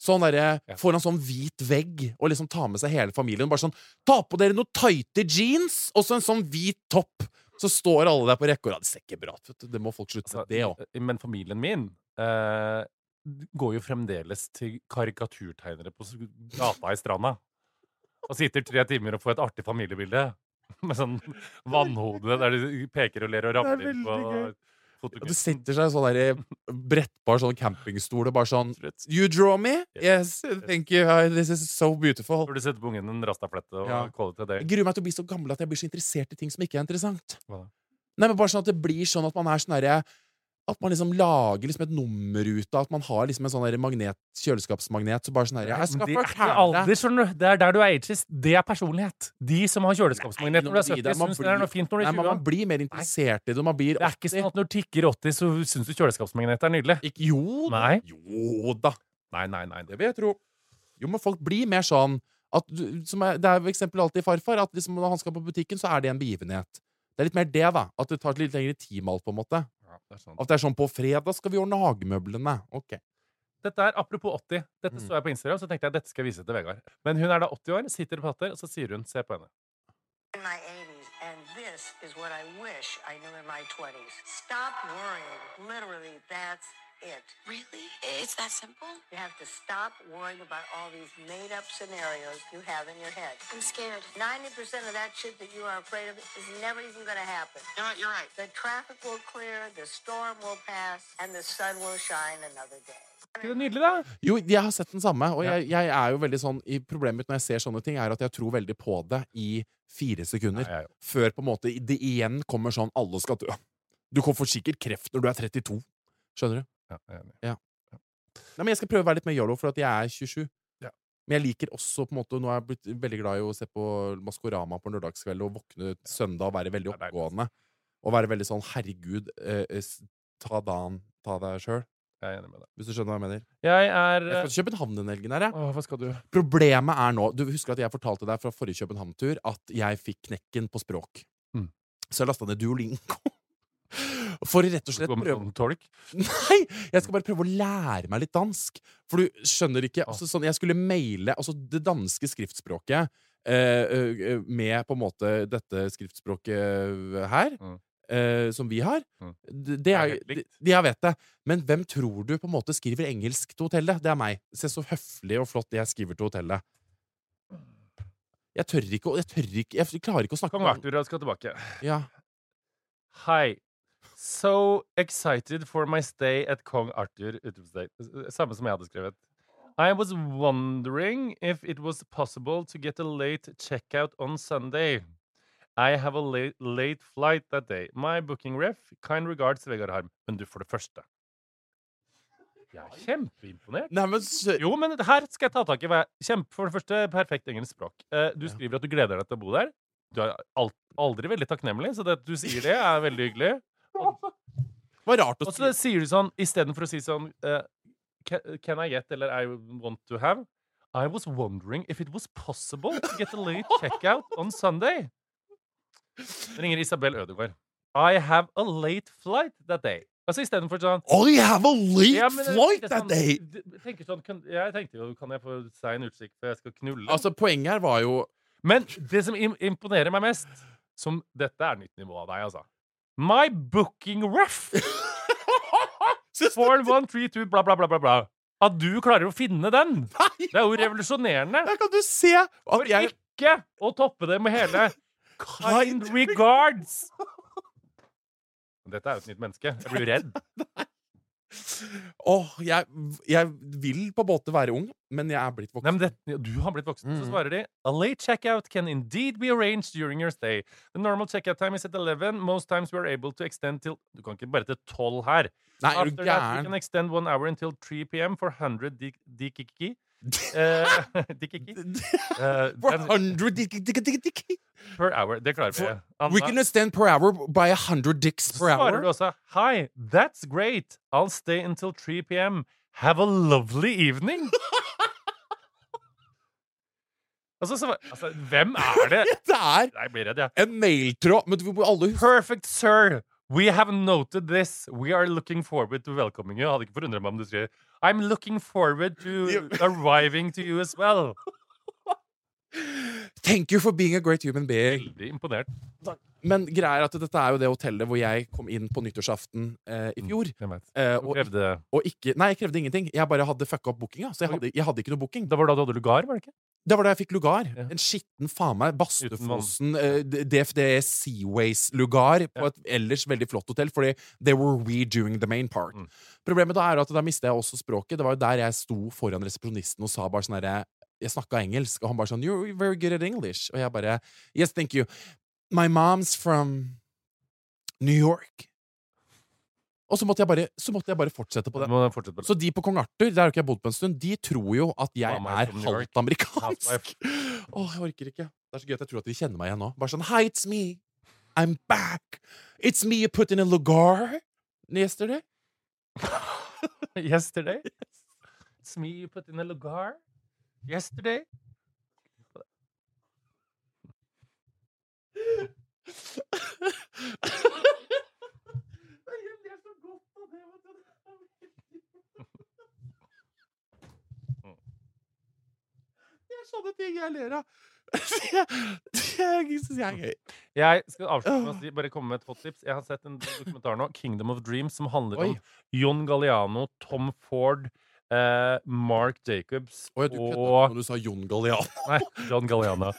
[SPEAKER 3] Sånn derre Foran sånn hvit vegg, og liksom tar med seg hele familien. Bare sånn Ta på dere noen tighte jeans, og så en sånn hvit topp! Så står alle der på rekke og rad. Det ser ikke bra ut, vet du. Det må folk slutte med, Altså, det òg.
[SPEAKER 2] Men familien min eh, går jo fremdeles til karikaturtegnere på s- gata i stranda. Og sitter tre timer og får et artig familiebilde. Med sånn vannhode der de peker og ler og ramler
[SPEAKER 3] veldig
[SPEAKER 2] på
[SPEAKER 3] gøy. Og
[SPEAKER 2] fotokunst.
[SPEAKER 3] det setter seg sånn der i brettbar sånn campingstol og bare sånn You draw me? Yes, thank you. Uh, This is so beautiful.
[SPEAKER 2] Burde sette på ungen en rastaflette og
[SPEAKER 3] Ja.
[SPEAKER 2] calle det
[SPEAKER 3] Jeg
[SPEAKER 2] det.
[SPEAKER 3] gruer meg til å bli så gammel at jeg blir så interessert i ting som ikke er interessant.
[SPEAKER 2] Hva da?
[SPEAKER 3] Nei, men bare sånn at det blir sånn at man er sånn derre At man liksom lager liksom et nummer ut av at man har liksom en sånn derre magnet, kjøleskapsmagnet. Så bare sånn derre Jeg skal
[SPEAKER 2] Det er ikke
[SPEAKER 3] fortelle
[SPEAKER 2] alder, skjønner du. Det er der du er ageist. Det er personlighet. De som har
[SPEAKER 3] Nei,
[SPEAKER 2] kjøleskapsmagnet
[SPEAKER 3] nå
[SPEAKER 2] når du er
[SPEAKER 3] må du gi
[SPEAKER 2] 70,
[SPEAKER 3] deg. Man
[SPEAKER 2] syns det er
[SPEAKER 3] blir-
[SPEAKER 2] noe fint når du
[SPEAKER 3] Nei,
[SPEAKER 2] er
[SPEAKER 3] men
[SPEAKER 2] 20.
[SPEAKER 3] man blir mer interessert i det. Man blir
[SPEAKER 2] Det er ikke sånn at når du tikker 80, så syns du kjøleskapsmagnet er nydelig.
[SPEAKER 3] Ikke, jo da.
[SPEAKER 2] Nei.
[SPEAKER 3] Jo da.
[SPEAKER 2] Nei, nei, nei.
[SPEAKER 3] Det vil jeg tro. Jo, men folk blir mer sånn at du, som er, Det er jo eksempel alltid i farfar, at liksom når han skal på butikken, så er det en begivenhet. Det er litt mer det, da. At det tar litt lengre tid med alt, på en måte. At det er sånn på fredag skal vi ordne hagemøblene. Ok.
[SPEAKER 2] Dette er apropos 80. Dette
[SPEAKER 3] Mm.
[SPEAKER 2] så jeg på Instagram, så tenkte jeg dette skal jeg vise til Vegard. Men hun er da 80 år, sitter og prater, og så sier hun Se på henne.
[SPEAKER 12] in my 80s, and this is what I wish I knew in my 20s. Stop worrying. Literally, that's it. Really? It's that simple? You have to stop worrying about all these made up scenarios you have in your head. I'm scared. 90% of that shit that you are afraid of is never even going to happen. You know what? You're right. The traffic will clear, the storm will pass, and the sun will shine another day.
[SPEAKER 2] Ikke det nydelig, da?
[SPEAKER 3] Jo, jeg har sett den samme, og jeg, jeg er jo veldig sånn i Problemet mitt når jeg ser sånne ting, er at jeg tror veldig på det i fire sekunder. Før på en måte det igjen kommer sånn 'alle skal dø'. Du kommer for sikkert kreft når du er 32. Skjønner du?
[SPEAKER 2] Ja, jeg er enig.
[SPEAKER 3] Ja. Nei, men jeg skal prøve å være litt mer yolo, for at jeg er 27. Men jeg liker også på en måte, Nå er jeg blitt veldig glad i å se på Maskorama på en lørdagskveld og våkne søndag og være veldig oppegående. Og være veldig sånn 'herregud, eh, eh, s- ta dagen, ta deg sjøl'.
[SPEAKER 2] Jeg er enig med deg.
[SPEAKER 3] Hvis du skjønner hva jeg mener?
[SPEAKER 2] Jeg er eh,
[SPEAKER 3] Jeg skal til København denne helgen. her, jeg.
[SPEAKER 2] Åh, hva skal du?
[SPEAKER 3] Problemet er nå Du husker at jeg fortalte deg fra forrige København-tur at jeg fikk knekken på språk.
[SPEAKER 2] Mm.
[SPEAKER 3] Så jeg lasta ned Duolingo. For å rett og slett
[SPEAKER 2] Skal du gå med
[SPEAKER 3] prøve
[SPEAKER 2] sånn tolk?
[SPEAKER 3] Nei! Jeg skal bare prøve å lære meg litt dansk. For du skjønner ikke altså, sånn, Jeg skulle maile altså, det danske skriftspråket eh, eh, med på en måte dette skriftspråket her,
[SPEAKER 2] Mm.
[SPEAKER 3] eh, som vi har. Det, det er, det, det- jeg vet det. Men hvem tror du på en måte skriver engelsk til hotellet? Det er meg. Se så høflig og flott jeg skriver til hotellet. Jeg tør ikke å Jeg, tør ikke, jeg klarer ikke å snakke
[SPEAKER 2] Kom, Arthur, jeg skal tilbake.
[SPEAKER 3] Ja.
[SPEAKER 2] Hi. So excited for my stay at Kong Arthur. utropstegn. Samme som jeg hadde skrevet. I was wondering if it was possible to get a late checkout on Sunday. I have a late, late flight that day. My booking ref, kind regards Vegard Harm. Men du, for det første Jeg er kjempeimponert. Jo, men her skal jeg ta tak i hva jeg kjempe, For det første, perfekt engelsk språk. Eh, Du skriver at du gleder deg til å bo der. Du er al- aldri veldig takknemlig, så det at du sier det, er veldig hyggelig.
[SPEAKER 3] Var rart å
[SPEAKER 2] Og så sier du sånn, istedenfor å si sånn eh, ca- Can I get, eller I want to have I was wondering if it was possible to get a late checkout on Sunday. Ringer Isabel Ødegaard. I have a late flight that day. Altså istedenfor sånn
[SPEAKER 3] I have a late
[SPEAKER 2] men det-
[SPEAKER 3] flight
[SPEAKER 2] det er
[SPEAKER 3] that
[SPEAKER 2] sånn-
[SPEAKER 3] day.
[SPEAKER 2] d- tenker sånn, kan, Jeg tenkte jo Kan jeg få seg en utsikt før jeg skal knulle?
[SPEAKER 3] Altså, poenget her var jo
[SPEAKER 2] Men det som im imponerer meg mest, som Dette er nytt nivå av deg, altså. My booking ref! 4132, bla, bla, bla, bla, bla. At du klarer å finne den! Det er jo revolusjonerende! Der
[SPEAKER 3] kan du se!
[SPEAKER 2] For ikke å toppe det med hele Kind regards! Dette er jo et nytt menneske. Jeg blir jo redd.
[SPEAKER 3] Åh, jeg, jeg vil på en måte være ung, men jeg er blitt voksen.
[SPEAKER 2] du har blitt voksen.
[SPEAKER 3] Mm.
[SPEAKER 2] Så svarer de A late checkout can indeed be arranged during your stay. The normal checkout time is at 11. Most times we are able to extend till Du kan ikke bare til 12 her.
[SPEAKER 3] Nei, er du
[SPEAKER 2] After that,
[SPEAKER 3] gæren?
[SPEAKER 2] we can extend one hour until 3 p.m. for 100 dik- dikiki. Eh, dikiki. Eh,
[SPEAKER 3] For
[SPEAKER 2] den-
[SPEAKER 3] 100 dik- dik- dik- dik-
[SPEAKER 2] Per hour. Det klarer vi.
[SPEAKER 3] We can stand per hour by 100 dicks per
[SPEAKER 2] svarer du
[SPEAKER 3] hour.
[SPEAKER 2] også Hi, that's great. I'll stay until 3 p.m. Have a lovely evening. altså, så, altså, hvem er det?
[SPEAKER 3] Det er
[SPEAKER 2] Jeg blir redd, jeg.
[SPEAKER 3] en mailtråd Men du må alle huske
[SPEAKER 2] Perfect sir. We have noted this. We are looking forward to welcoming you. Hadde ikke forundret meg om du skrev I'm looking forward to arriving to you as well.
[SPEAKER 3] Thank you for being a great human being.
[SPEAKER 2] Veldig imponert.
[SPEAKER 3] Men greia er at dette er jo det hotellet hvor jeg kom inn på nyttårsaften eh, i fjor.
[SPEAKER 2] Jeg vet.
[SPEAKER 3] Eh,
[SPEAKER 2] Du
[SPEAKER 3] og,
[SPEAKER 2] krevde-
[SPEAKER 3] og ikke Nei, jeg krevde ingenting. Jeg bare hadde fucka opp bookinga. Så jeg hadde, jeg hadde ikke noe booking.
[SPEAKER 2] Det var da du hadde lugar, var det ikke?
[SPEAKER 3] Det var da jeg fikk lugar. En skitten, faen meg, Bastefossen, eh, D- DFDE Seaways-lugar på et ellers veldig flott hotell, fordi they were redoing the main part. Problemet da er at da mista jeg også språket. Det var jo der jeg sto foran resepsjonisten og sa bare sånn herre Jeg snakka engelsk, og han bare sånn You're very good at English. Og jeg bare Yes, thank you. My mom's from New York. Og så måtte jeg bare, så måtte jeg bare fortsette på det.
[SPEAKER 2] Må fortsette på det.
[SPEAKER 3] Så de på Kong Arthur, der har ikke jeg bodd på en stund, de tror jo at jeg
[SPEAKER 2] Mamma
[SPEAKER 3] er
[SPEAKER 2] from New York.
[SPEAKER 3] halvt amerikansk.
[SPEAKER 2] Half-life.
[SPEAKER 3] Åh, jeg orker ikke. Det er så gøy at jeg tror at de kjenner meg igjen nå. Bare sånn Hi, it's me. I'm back. It's me you put in a lugar yesterday.
[SPEAKER 2] Yesterday? It's me you put in a lugar. Yesterday?
[SPEAKER 3] Det er sånne ting jeg ler av. Jeg syns jeg er gøy.
[SPEAKER 2] Jeg skal avslutte med å
[SPEAKER 3] Ah.
[SPEAKER 2] si, bare komme med et hot tips. Jeg har sett en dokumentar nå, 'Kingdom of Dreams', som handler
[SPEAKER 3] Oi.
[SPEAKER 2] om John Galliano, Tom Ford, eh, Mark Jacobs
[SPEAKER 3] Å ja, du kødda
[SPEAKER 2] og
[SPEAKER 3] når du sa Jon Galliano.
[SPEAKER 2] Nei, John Galliano.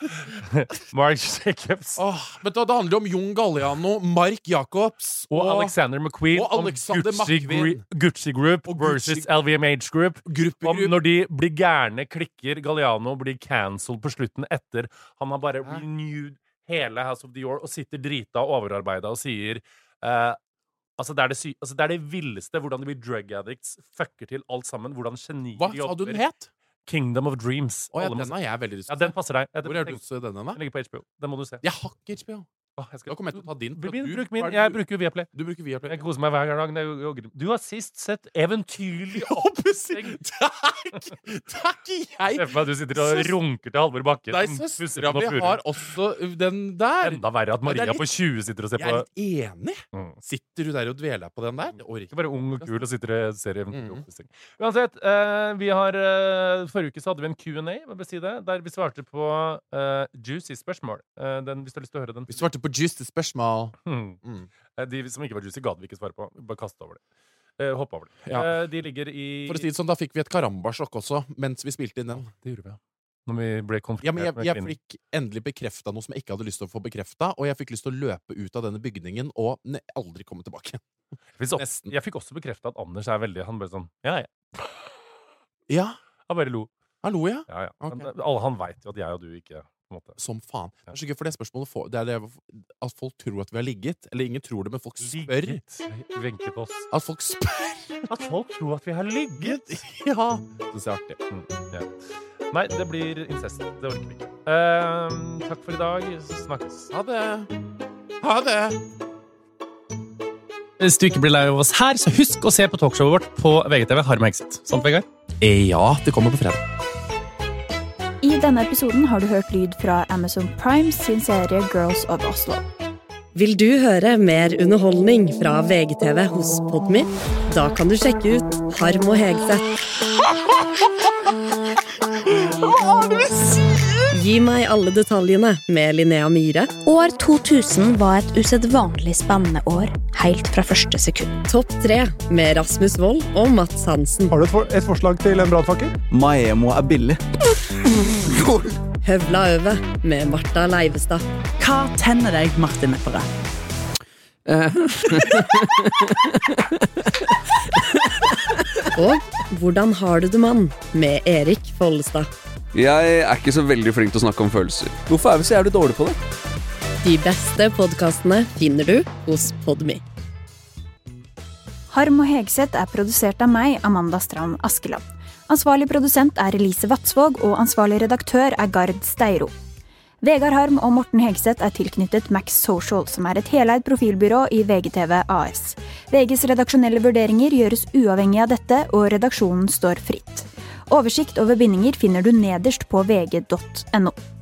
[SPEAKER 2] Mark Jacobs og,
[SPEAKER 3] Åh, vet du, hva, det handler om Jon Galliano, Mark Jacobs
[SPEAKER 2] Alexander McQueen
[SPEAKER 3] og Alexander
[SPEAKER 2] om Gucci,
[SPEAKER 3] McQueen.
[SPEAKER 2] Gru- Gucci Group
[SPEAKER 3] Og Gucci-
[SPEAKER 2] versus LVMH Group.
[SPEAKER 3] Gruppe,
[SPEAKER 2] Om
[SPEAKER 3] gruppe.
[SPEAKER 2] når de blir gærne, klikker Galliano blir cancelled på slutten etter han har bare renewed hele House of Dior og sitter drita og overarbeida og sier eh, Altså det, er det, sy altså, det er det villeste hvordan de blir drug addicts, fucker til alt sammen. Hvordan genier
[SPEAKER 3] Hva sa du den het?
[SPEAKER 2] Kingdom of Dreams.
[SPEAKER 3] Å ja,
[SPEAKER 2] Alle må
[SPEAKER 3] den
[SPEAKER 2] se-
[SPEAKER 3] har jeg veldig lyst
[SPEAKER 2] ja,
[SPEAKER 3] til.
[SPEAKER 2] den passer deg. Jeg-
[SPEAKER 3] Hvor har du
[SPEAKER 2] jeg-
[SPEAKER 3] lyst til den, da?
[SPEAKER 2] Den ligger på HBO. Den må du se.
[SPEAKER 3] Jeg har ikke HBO.
[SPEAKER 2] Åh, jeg skal-
[SPEAKER 3] Da kommer jeg til å ta din. for
[SPEAKER 2] Bruk min,
[SPEAKER 3] du-
[SPEAKER 2] bruk
[SPEAKER 3] hva
[SPEAKER 2] min.
[SPEAKER 3] er det
[SPEAKER 2] Jeg
[SPEAKER 3] du-
[SPEAKER 2] bruker jo Viaplay.
[SPEAKER 3] Du bruker Viaplay.
[SPEAKER 2] Jeg koser meg hver gang. Det er jo- jo- Du har sist sett Eventyrlig
[SPEAKER 3] oppseng. Takk! Takk,
[SPEAKER 2] Se
[SPEAKER 3] jeg!
[SPEAKER 2] for meg at du sitter og
[SPEAKER 3] Søs-
[SPEAKER 2] runker til Halvor Bakke.
[SPEAKER 3] Nei,
[SPEAKER 2] som pusser
[SPEAKER 3] søstera
[SPEAKER 2] på
[SPEAKER 3] mi
[SPEAKER 2] Furuøy.
[SPEAKER 3] har også den der.
[SPEAKER 2] Enda verre at
[SPEAKER 3] Men det
[SPEAKER 2] Maria
[SPEAKER 3] er
[SPEAKER 2] på 20 sitter og ser
[SPEAKER 3] Jeg er
[SPEAKER 2] på
[SPEAKER 3] litt enig.
[SPEAKER 2] Mm.
[SPEAKER 3] Sitter du der og dveler på den der? Det orker
[SPEAKER 2] Ikke bare ung og kul og sitter og ser eventuelt
[SPEAKER 3] Mm.
[SPEAKER 2] oppvisning. Uansett, eh, vi har eh, Forrige uke så hadde vi en Q&A, hva bør jeg si det, der vi svarte på eh, juicy spørsmål. Eh, den, hvis du har lyst til å høre den.
[SPEAKER 3] Vi svarte på juicy spørsmål.
[SPEAKER 2] Hmm.
[SPEAKER 3] Mm.
[SPEAKER 2] Eh, De som ikke var juicy, gadd vi ikke svare på. Vi Bare kasta over det. Uh, Hoppa over det.
[SPEAKER 3] Ja.
[SPEAKER 2] Eh, de ligger i
[SPEAKER 3] For å si det sånn, Da fikk vi et karambasjokk også, mens vi spilte inn den.
[SPEAKER 2] Det gjorde vi, ja. Når vi ble konfrontert
[SPEAKER 3] Ja, men jeg,
[SPEAKER 2] med
[SPEAKER 3] jeg
[SPEAKER 2] kvinner.
[SPEAKER 3] fikk endelig bekrefta noe som jeg ikke hadde lyst til å få bekrefta, og jeg fikk lyst til å løpe ut av denne bygningen og ne aldri komme tilbake.
[SPEAKER 2] Hvis opp-
[SPEAKER 3] Nesten.
[SPEAKER 2] Jeg fikk også bekrefta at Anders er veldig Han bare sånn Ja, ja.
[SPEAKER 3] Ja,
[SPEAKER 2] Han bare lo.
[SPEAKER 3] hallo, ja.
[SPEAKER 2] Ja, ja.
[SPEAKER 3] Ok.
[SPEAKER 2] Men, eh, alle, han veit jo at jeg og du ikke på en måte.
[SPEAKER 3] Som faen. Det er så gøy, for det spørsmålet får, det er det, at folk tror at vi har ligget. Eller ingen tror det, men folk spør.
[SPEAKER 2] Ligget. Venke på oss.
[SPEAKER 3] At folk spør!
[SPEAKER 2] At folk tror at vi har ligget.
[SPEAKER 3] Ja! Det syns jeg er artig.
[SPEAKER 2] Mm, ja. Nei, det blir incest. Det orker vi ikke. Ehm, takk for i dag. Snakkes.
[SPEAKER 3] Ha det! Ha det!
[SPEAKER 2] Hvis du ikke blir lei av oss her, så husk å se på talkshowet vårt på VGTV. Harm Exit. Sant, Vegard?
[SPEAKER 3] Ja, det kommer på fredag.
[SPEAKER 13] I denne episoden har du hørt lyd fra Amazon Prime sin serie Girls of Oslo.
[SPEAKER 1] Vil du høre mer underholdning fra VGTV hos Podmy? Da kan du sjekke ut Harm og Hegseth. Gi meg alle detaljene med Linnea Myhre.
[SPEAKER 14] År 2000 var et usedvanlig spennende år, helt fra første sekund.
[SPEAKER 1] Topp tre med Rasmus Wold og Mats Hansen.
[SPEAKER 15] Har du et, for et forslag til en brannfakkel?
[SPEAKER 16] Maemo er billig.
[SPEAKER 1] Høvla over med Marta Leivestad.
[SPEAKER 17] Hva tenner deg, Martin Lepperød?
[SPEAKER 1] Eh. Og Hvordan har du det, mann? med Erik Follestad.
[SPEAKER 16] Jeg er ikke så veldig flink til å snakke om følelser. Hvorfor er vi så jævlig dårlige på det?
[SPEAKER 1] De beste podkastene finner du hos Podmy.
[SPEAKER 13] Harm og Hegseth er produsert av meg, Amanda Strand Askeland. Ansvarlig produsent er Elise Vatsvåg, og ansvarlig redaktør er Gard Steiro. Vegard Harm og Morten Hegseth er tilknyttet Max Social, som er et heleid profilbyrå i VGTV AS. VGs redaksjonelle vurderinger gjøres uavhengig av dette, og redaksjonen står fritt. Oversikt over bindinger finner du nederst på vg.no.